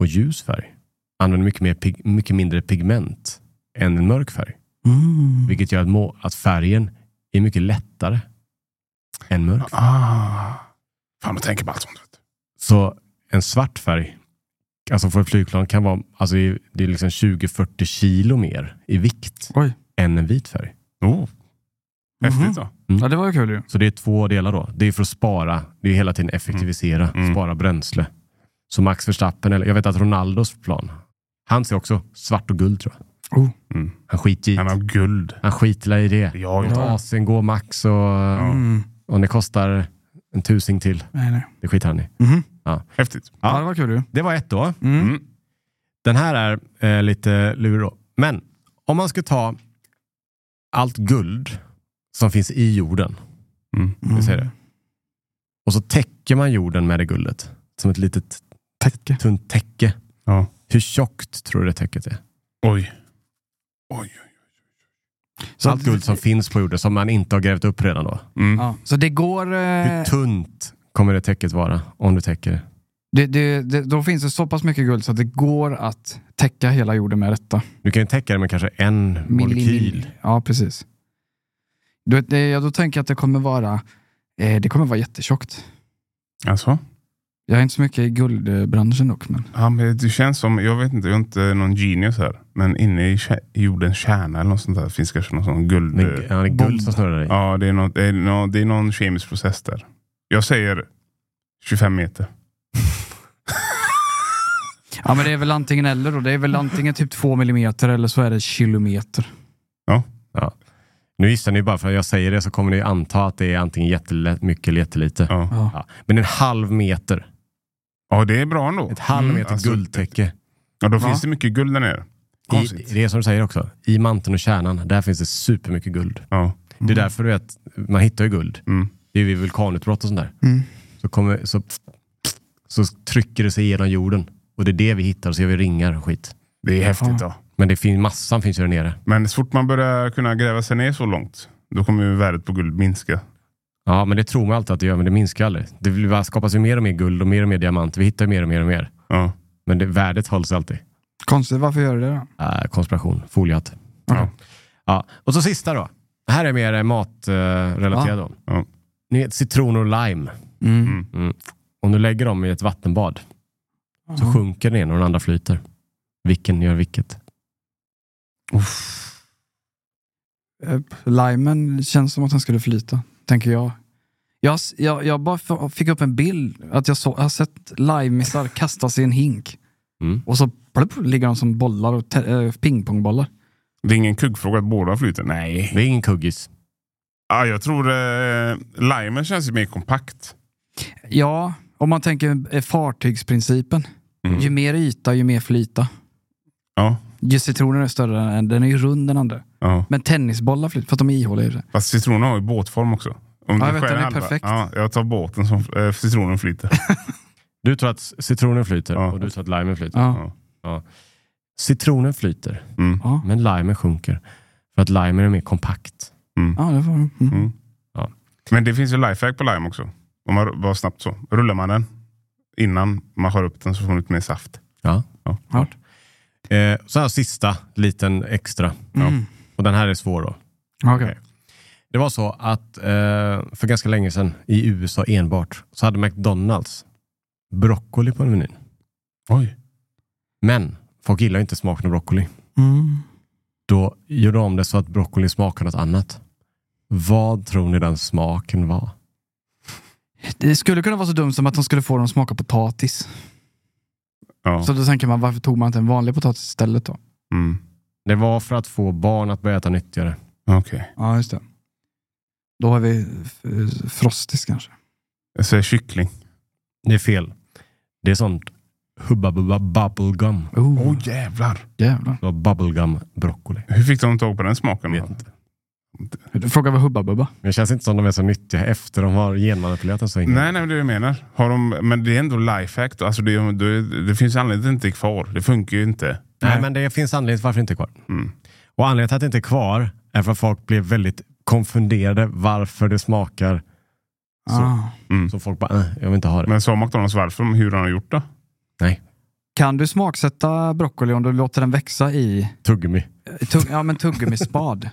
Speaker 1: och ljus färg använder mycket, mer pig, mycket mindre pigment än en mörk färg.
Speaker 3: Mm.
Speaker 2: Mm.
Speaker 1: Vilket gör att, må, att färgen är mycket lättare än mörk.
Speaker 2: Ah. Fan, man tänker på allt sånt. vet du.
Speaker 1: Så en svart färg, alltså för ett flygplan kan vara, alltså det är- det är liksom 20-40 kilo mer i vikt
Speaker 3: Oj.
Speaker 1: än en vit färg.
Speaker 2: Oh. Häftigt då.
Speaker 3: Ja, det var ju kul ju.
Speaker 1: Så det är två delar då. Det är för att spara, det är hela tiden effektivisera,
Speaker 2: Mm.
Speaker 1: spara bränsle. Så Max Verstappen, eller jag vet att Ronaldos plan, han ser också svart och guld tror jag.
Speaker 3: Oh.
Speaker 2: Mm.
Speaker 1: Han skiter i
Speaker 2: Han har
Speaker 1: det.
Speaker 2: guld.
Speaker 1: Han skiter i det.
Speaker 2: Ja,
Speaker 1: Låt
Speaker 2: ja.
Speaker 1: Asien gå max och
Speaker 3: Mm.
Speaker 1: om det kostar en tusing till,
Speaker 3: Nej, nej.
Speaker 1: det skiter han i.
Speaker 3: Mhm.
Speaker 2: Häftigt.
Speaker 3: Ja. det var kul ju.
Speaker 1: Det var ett då.
Speaker 3: Mm.
Speaker 2: Mm.
Speaker 1: Den här är eh, lite lurig då. Men om man ska ta allt guld som finns i jorden
Speaker 2: Mm.
Speaker 1: vi säger det. och så täcker man jorden med det guldet som ett litet
Speaker 3: Täcke.
Speaker 1: tunt täcke.
Speaker 2: Ja.
Speaker 1: Hur tjockt tror du det täcket är?
Speaker 2: Oj. Oj. oj.
Speaker 3: Så,
Speaker 1: allt guld som finns på jorden som man inte har grävt upp redan då.
Speaker 2: Mm.
Speaker 3: ja. så det går...
Speaker 1: Hur
Speaker 3: Eh,
Speaker 1: tunt kommer det täcket vara om du täcker det?
Speaker 3: Det, det, det, då finns det så pass mycket guld så att det går att täcka hela jorden med detta.
Speaker 1: Du kan ju täcka det med kanske en molekyl.
Speaker 3: Ja, precis. Du vet, det, jag då tänker jag att det kommer vara eh, det kommer vara jättetjockt.
Speaker 2: Alltså?
Speaker 3: Jag är inte så mycket i guldbranschen dock. Men,
Speaker 2: Ja, men det känns som, jag vet inte, jag är inte någon genius här. Men inne i kä- i jordens kärna eller något sånt där finns kanske någon sån guld...
Speaker 1: Det är, ja, det är guld som snurrar i.
Speaker 2: eh, Ja, det är, något, det, är någon, det är någon kemisk process där. Jag säger 25 meter.
Speaker 3: ja, men det är väl antingen eller. Då. Det är väl antingen typ två millimeter eller så är det kilometer.
Speaker 1: Nu gissar ni bara för att jag säger det så kommer ni anta att det är antingen jättemycket eller jättelite. Ja.
Speaker 2: Ja,
Speaker 3: Ja.
Speaker 1: Men en halv meter.
Speaker 2: ja det är bra ändå.
Speaker 1: Ett halv
Speaker 2: Mm,
Speaker 1: meter
Speaker 2: alltså,
Speaker 1: guldtäcke.
Speaker 2: Ja, då
Speaker 3: Ja.
Speaker 2: finns det mycket guld där
Speaker 1: I,
Speaker 2: nere. Konstigt.
Speaker 1: det är som du säger också, i manteln och kärnan, där finns det supermycket guld.
Speaker 2: Ja.
Speaker 1: Det är därför du vet, man hittar ju guld.
Speaker 2: Mm.
Speaker 1: Det är vid vulkanutbrott och sånt där. Så, kommer, så, så trycker det sig igenom jorden. Och det är det vi hittar, så gör vi ringar och skit.
Speaker 2: Det är häftigt. Ja.
Speaker 1: Men det fin, massan finns ju där nere.
Speaker 2: Men så fort man börjar kunna gräva sig ner så långt, då kommer ju värdet på guld minska.
Speaker 1: Ja, men det tror man alltid att det gör, men det minskar aldrig. Det vill bara skapas ju mer och mer guld och mer och mer diamanter. Vi hittar ju mer och mer och mer.
Speaker 2: Ja.
Speaker 1: Men det, värdet hålls alltid.
Speaker 3: Konstigt, varför gör du det då?
Speaker 1: Äh, konspiration, foliehatt.
Speaker 2: Ja.
Speaker 1: Ja. Och så sista då. Det här är mer matrelaterad. då.
Speaker 2: Ja.
Speaker 1: Ni vet citroner och lime.
Speaker 2: Mm.
Speaker 1: Om du lägger dem i ett vattenbad
Speaker 2: Mm.
Speaker 1: så sjunker den ena och den andra flyter. Vilken gör vilket?
Speaker 3: Eh, Limen känns som att han skulle flyta, tänker jag. Jag, s- jag, jag bara f- fick upp en bild, att jag, så, jag har sett limeisar kastas i en hink.
Speaker 1: Mm.
Speaker 3: Och så plupp, ligger de som bollar, och te- eh, pingpongbollar.
Speaker 2: Det är ingen kuggfråga att båda flyter? Nej.
Speaker 1: Det är ingen kuggis.
Speaker 2: Ja, jag tror eh, limen känns ju mer kompakt.
Speaker 3: Ja, om man tänker eh, fartygsprincipen.
Speaker 2: Mm.
Speaker 3: Ju mer yta, ju mer flyta.
Speaker 2: Ja.
Speaker 3: Ju citronen är större, än, den är ju rund den andra.
Speaker 2: ja.
Speaker 3: Men tennisbollar flyter, för att de är ihåliga i och för sig.
Speaker 2: Fast citronen har ju båtform också. Om
Speaker 3: Ja,
Speaker 2: du
Speaker 3: vänta,
Speaker 2: skär
Speaker 3: den är
Speaker 2: halva-
Speaker 3: perfekt.
Speaker 2: Ja, jag tar båten som eh, citronen flyter.
Speaker 1: Du tror att citronen flyter
Speaker 2: Ja.
Speaker 1: och du tror att limen flyter.
Speaker 3: Ja.
Speaker 1: Citronen flyter,
Speaker 2: Mm.
Speaker 3: Ja.
Speaker 1: men limen sjunker. För att limen är mer kompakt.
Speaker 3: Ja, det var, mm.
Speaker 2: Mm.
Speaker 1: Ja.
Speaker 2: Men det finns ju lifehack på lime också. Om man bara snabbt så. Rullar man den innan man skär upp den så får man ut mer saft.
Speaker 1: Ja.
Speaker 2: Ja.
Speaker 3: Klart.
Speaker 1: Eh, så här sista liten extra.
Speaker 3: Mm.
Speaker 1: Och den här är svår då.
Speaker 3: Okej.
Speaker 1: Det var så att eh, för ganska länge sedan i USA enbart så hade McDonalds broccoli på menyn.
Speaker 2: Oj.
Speaker 1: Men folk gillar ju inte smaken av broccoli.
Speaker 3: Mm.
Speaker 1: Då gjorde de om det så att broccoli smakar något annat. Vad tror ni den smaken var?
Speaker 3: Det skulle kunna vara så dumt som att de skulle få dem att smaka potatis.
Speaker 2: Ja.
Speaker 3: Så då tänker man, varför tog man inte en vanlig potatis istället då?
Speaker 2: Mm.
Speaker 1: Det var för att få barn att börja äta nyttigare.
Speaker 2: Okej.
Speaker 3: Ja, just det. Då har vi eh, frostis kanske.
Speaker 2: Jag säger kyckling.
Speaker 1: Det är fel. Det är sånt hubba bubba bubblegum.
Speaker 3: Oh,
Speaker 2: Åh jävlar.
Speaker 3: jävlar.
Speaker 1: Det var bubblegum broccoli.
Speaker 2: Hur fick de tag på den smaken?
Speaker 1: Jag vet inte.
Speaker 3: Du frågar vad Hubba Bubba.
Speaker 1: Men det känns inte som de är så nyttiga efter de har genmanipulerat den så himla.
Speaker 2: Nej, nej, det är det jag menar. Har de, men det är ändå lifehack. då. Alltså det, det, det finns anledning till att det inte är kvar. Det funkar ju inte.
Speaker 1: Nej, men det finns anledning till varför det inte är kvar.
Speaker 2: Mm.
Speaker 1: Och anledningen till att det inte är kvar är för att folk blev väldigt konfunderade varför det smakar.
Speaker 3: Ah.
Speaker 2: Mm.
Speaker 1: Så folk bara, äh, jag vill inte ha det.
Speaker 2: Men sa McDonalds varför, hur han har gjort det?
Speaker 1: Nej,
Speaker 3: Kan du smaksätta broccoli om du låter den växa i,
Speaker 1: tuggummi.
Speaker 3: i tugg, ja, men tuggummispad?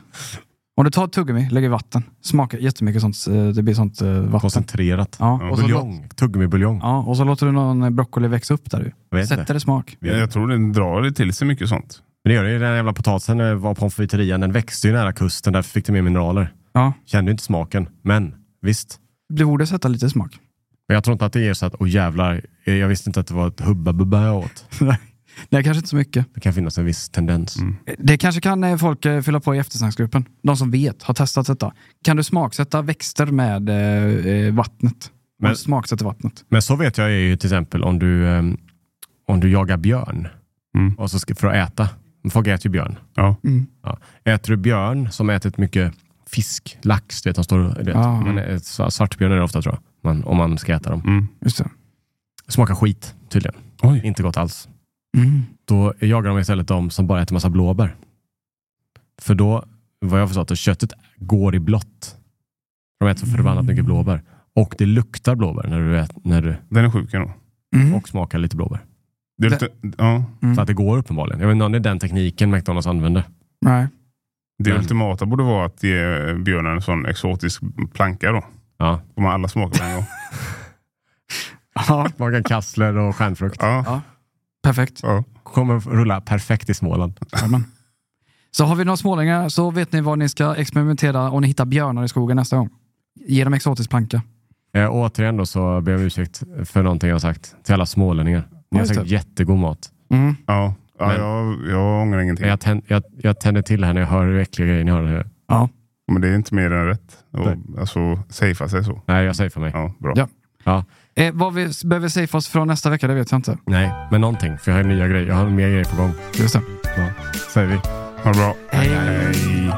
Speaker 3: om du tar ett tuggummi, lägger i vatten, smakar jättemycket sånt, eh, det blir sånt eh, vatten.
Speaker 1: Koncentrerat.
Speaker 3: Ja, och så, lå-
Speaker 1: Buljong. Tuggummi-buljong.
Speaker 3: ja, och så låter du någon broccoli växa upp där. ju.
Speaker 1: Jag vet
Speaker 3: Sätter
Speaker 1: inte.
Speaker 3: det smak.
Speaker 1: Vet
Speaker 2: Jag
Speaker 1: inte.
Speaker 2: tror den drar det till sig mycket sånt.
Speaker 1: Men det gör det ju. Den jävla potatisen när jag var på konfiterian, den växte ju nära kusten. Därför fick den mer mineraler.
Speaker 3: Ja.
Speaker 1: Kände ju inte smaken. Men visst.
Speaker 3: Du borde sätta lite smak.
Speaker 1: Men jag tror inte att det är så att, åh jävlar, Eh, jag visste inte att det var ett hubba-bubba jag åt.
Speaker 3: Nej, kanske inte så mycket.
Speaker 1: Det kan finnas en viss tendens.
Speaker 3: Mm. Det kanske kan eh, folk eh, fylla på i eftersnacksgruppen. De som vet, har testat detta. Kan du smaksätta växter med eh, eh, vattnet?
Speaker 1: Men-
Speaker 3: Men... Smaksätta vattnet.
Speaker 1: Men så vet jag är ju till exempel om du, ehm, om du jagar björn
Speaker 2: Mm.
Speaker 1: och så ska, för att äta. Men Folk äter ju björn.
Speaker 2: Ja.
Speaker 3: Mm.
Speaker 1: Ja. Äter du björn som ätit mycket fisk, lax, du vet, de står, du vet,
Speaker 3: Ja.
Speaker 1: man, ä- sva- svartbjörn är det ofta tror jag, man, om man ska äta dem.
Speaker 2: Mm.
Speaker 3: Just det.
Speaker 1: Smakar skit tydligen.
Speaker 2: Oj.
Speaker 1: Inte gott alls.
Speaker 3: Mm.
Speaker 1: Då jagar de istället de som bara äter massa blåbär. För då, vad jag förstått, att köttet går i blått. Mm. De äter så förbannat mycket blåbär. Och det luktar blåbär när du, ät, när du
Speaker 2: Den är sjuk ändå.
Speaker 3: Mm.
Speaker 1: och smaka lite blåbär.
Speaker 2: Det är lite, ja,
Speaker 1: Så att det går uppenbarligen. Jag vet inte om det är den tekniken McDonalds använder.
Speaker 3: Nej.
Speaker 2: det
Speaker 1: Men-
Speaker 2: ultimata borde vara att ge björnen en sån exotisk planka då.
Speaker 1: Ja.
Speaker 2: Får man alla smaker på en gång.
Speaker 3: Ja,
Speaker 1: Smaka kassler och stjärnfrukt.
Speaker 2: Ja,
Speaker 3: perfekt.
Speaker 2: ja.
Speaker 1: Kommer rulla perfekt i Småland.
Speaker 3: Jajamän. Så har vi några smålänningar så vet ni vad ni ska experimentera om ni hittar björnar i skogen nästa gång. Ge dem exotisk planka.
Speaker 1: Eh, återigen då så ber jag om ursäkt för någonting jag har sagt till alla smålänningar. Ni har
Speaker 3: just
Speaker 1: sagt jättegod mat.
Speaker 2: ja. ja
Speaker 1: Men-
Speaker 2: jag, jag ångrar ingenting.
Speaker 1: Men jag, tänd, jag, jag tänder till här när jag hör hur äckliga grejer ni har. här.
Speaker 3: Ja.
Speaker 2: Men det är inte mer än rätt.
Speaker 1: Nej.
Speaker 2: Och, alltså, safea sig så.
Speaker 1: Nej, jag säger för mig.
Speaker 2: Ja, bra.
Speaker 3: Ja.
Speaker 1: Ja.
Speaker 3: Eh, vad vi s- behöver safea oss från nästa vecka, det vet jag inte.
Speaker 1: Nej, men någonting. För jag har nya grejer. Jag har mer grejer på gång.
Speaker 3: Just det.
Speaker 1: Ja, säger vi.
Speaker 2: Ha det bra.
Speaker 3: Hej.
Speaker 2: Hej.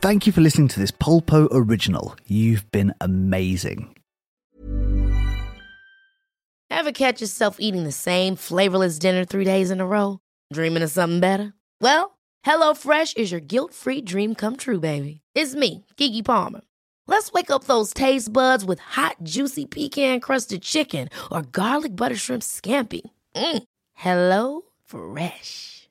Speaker 5: Thank you for listening to this Polpo original. You've been amazing.
Speaker 4: Ever catch yourself eating the same flavorless dinner three days in a row? Dreaming of something better? Well, HelloFresh is your guilt free dream come true, baby. It's me, Gigi Palmer. Let's wake up those taste buds with hot, juicy pecan crusted chicken or garlic butter shrimp scampi. Mm. Hello Fresh.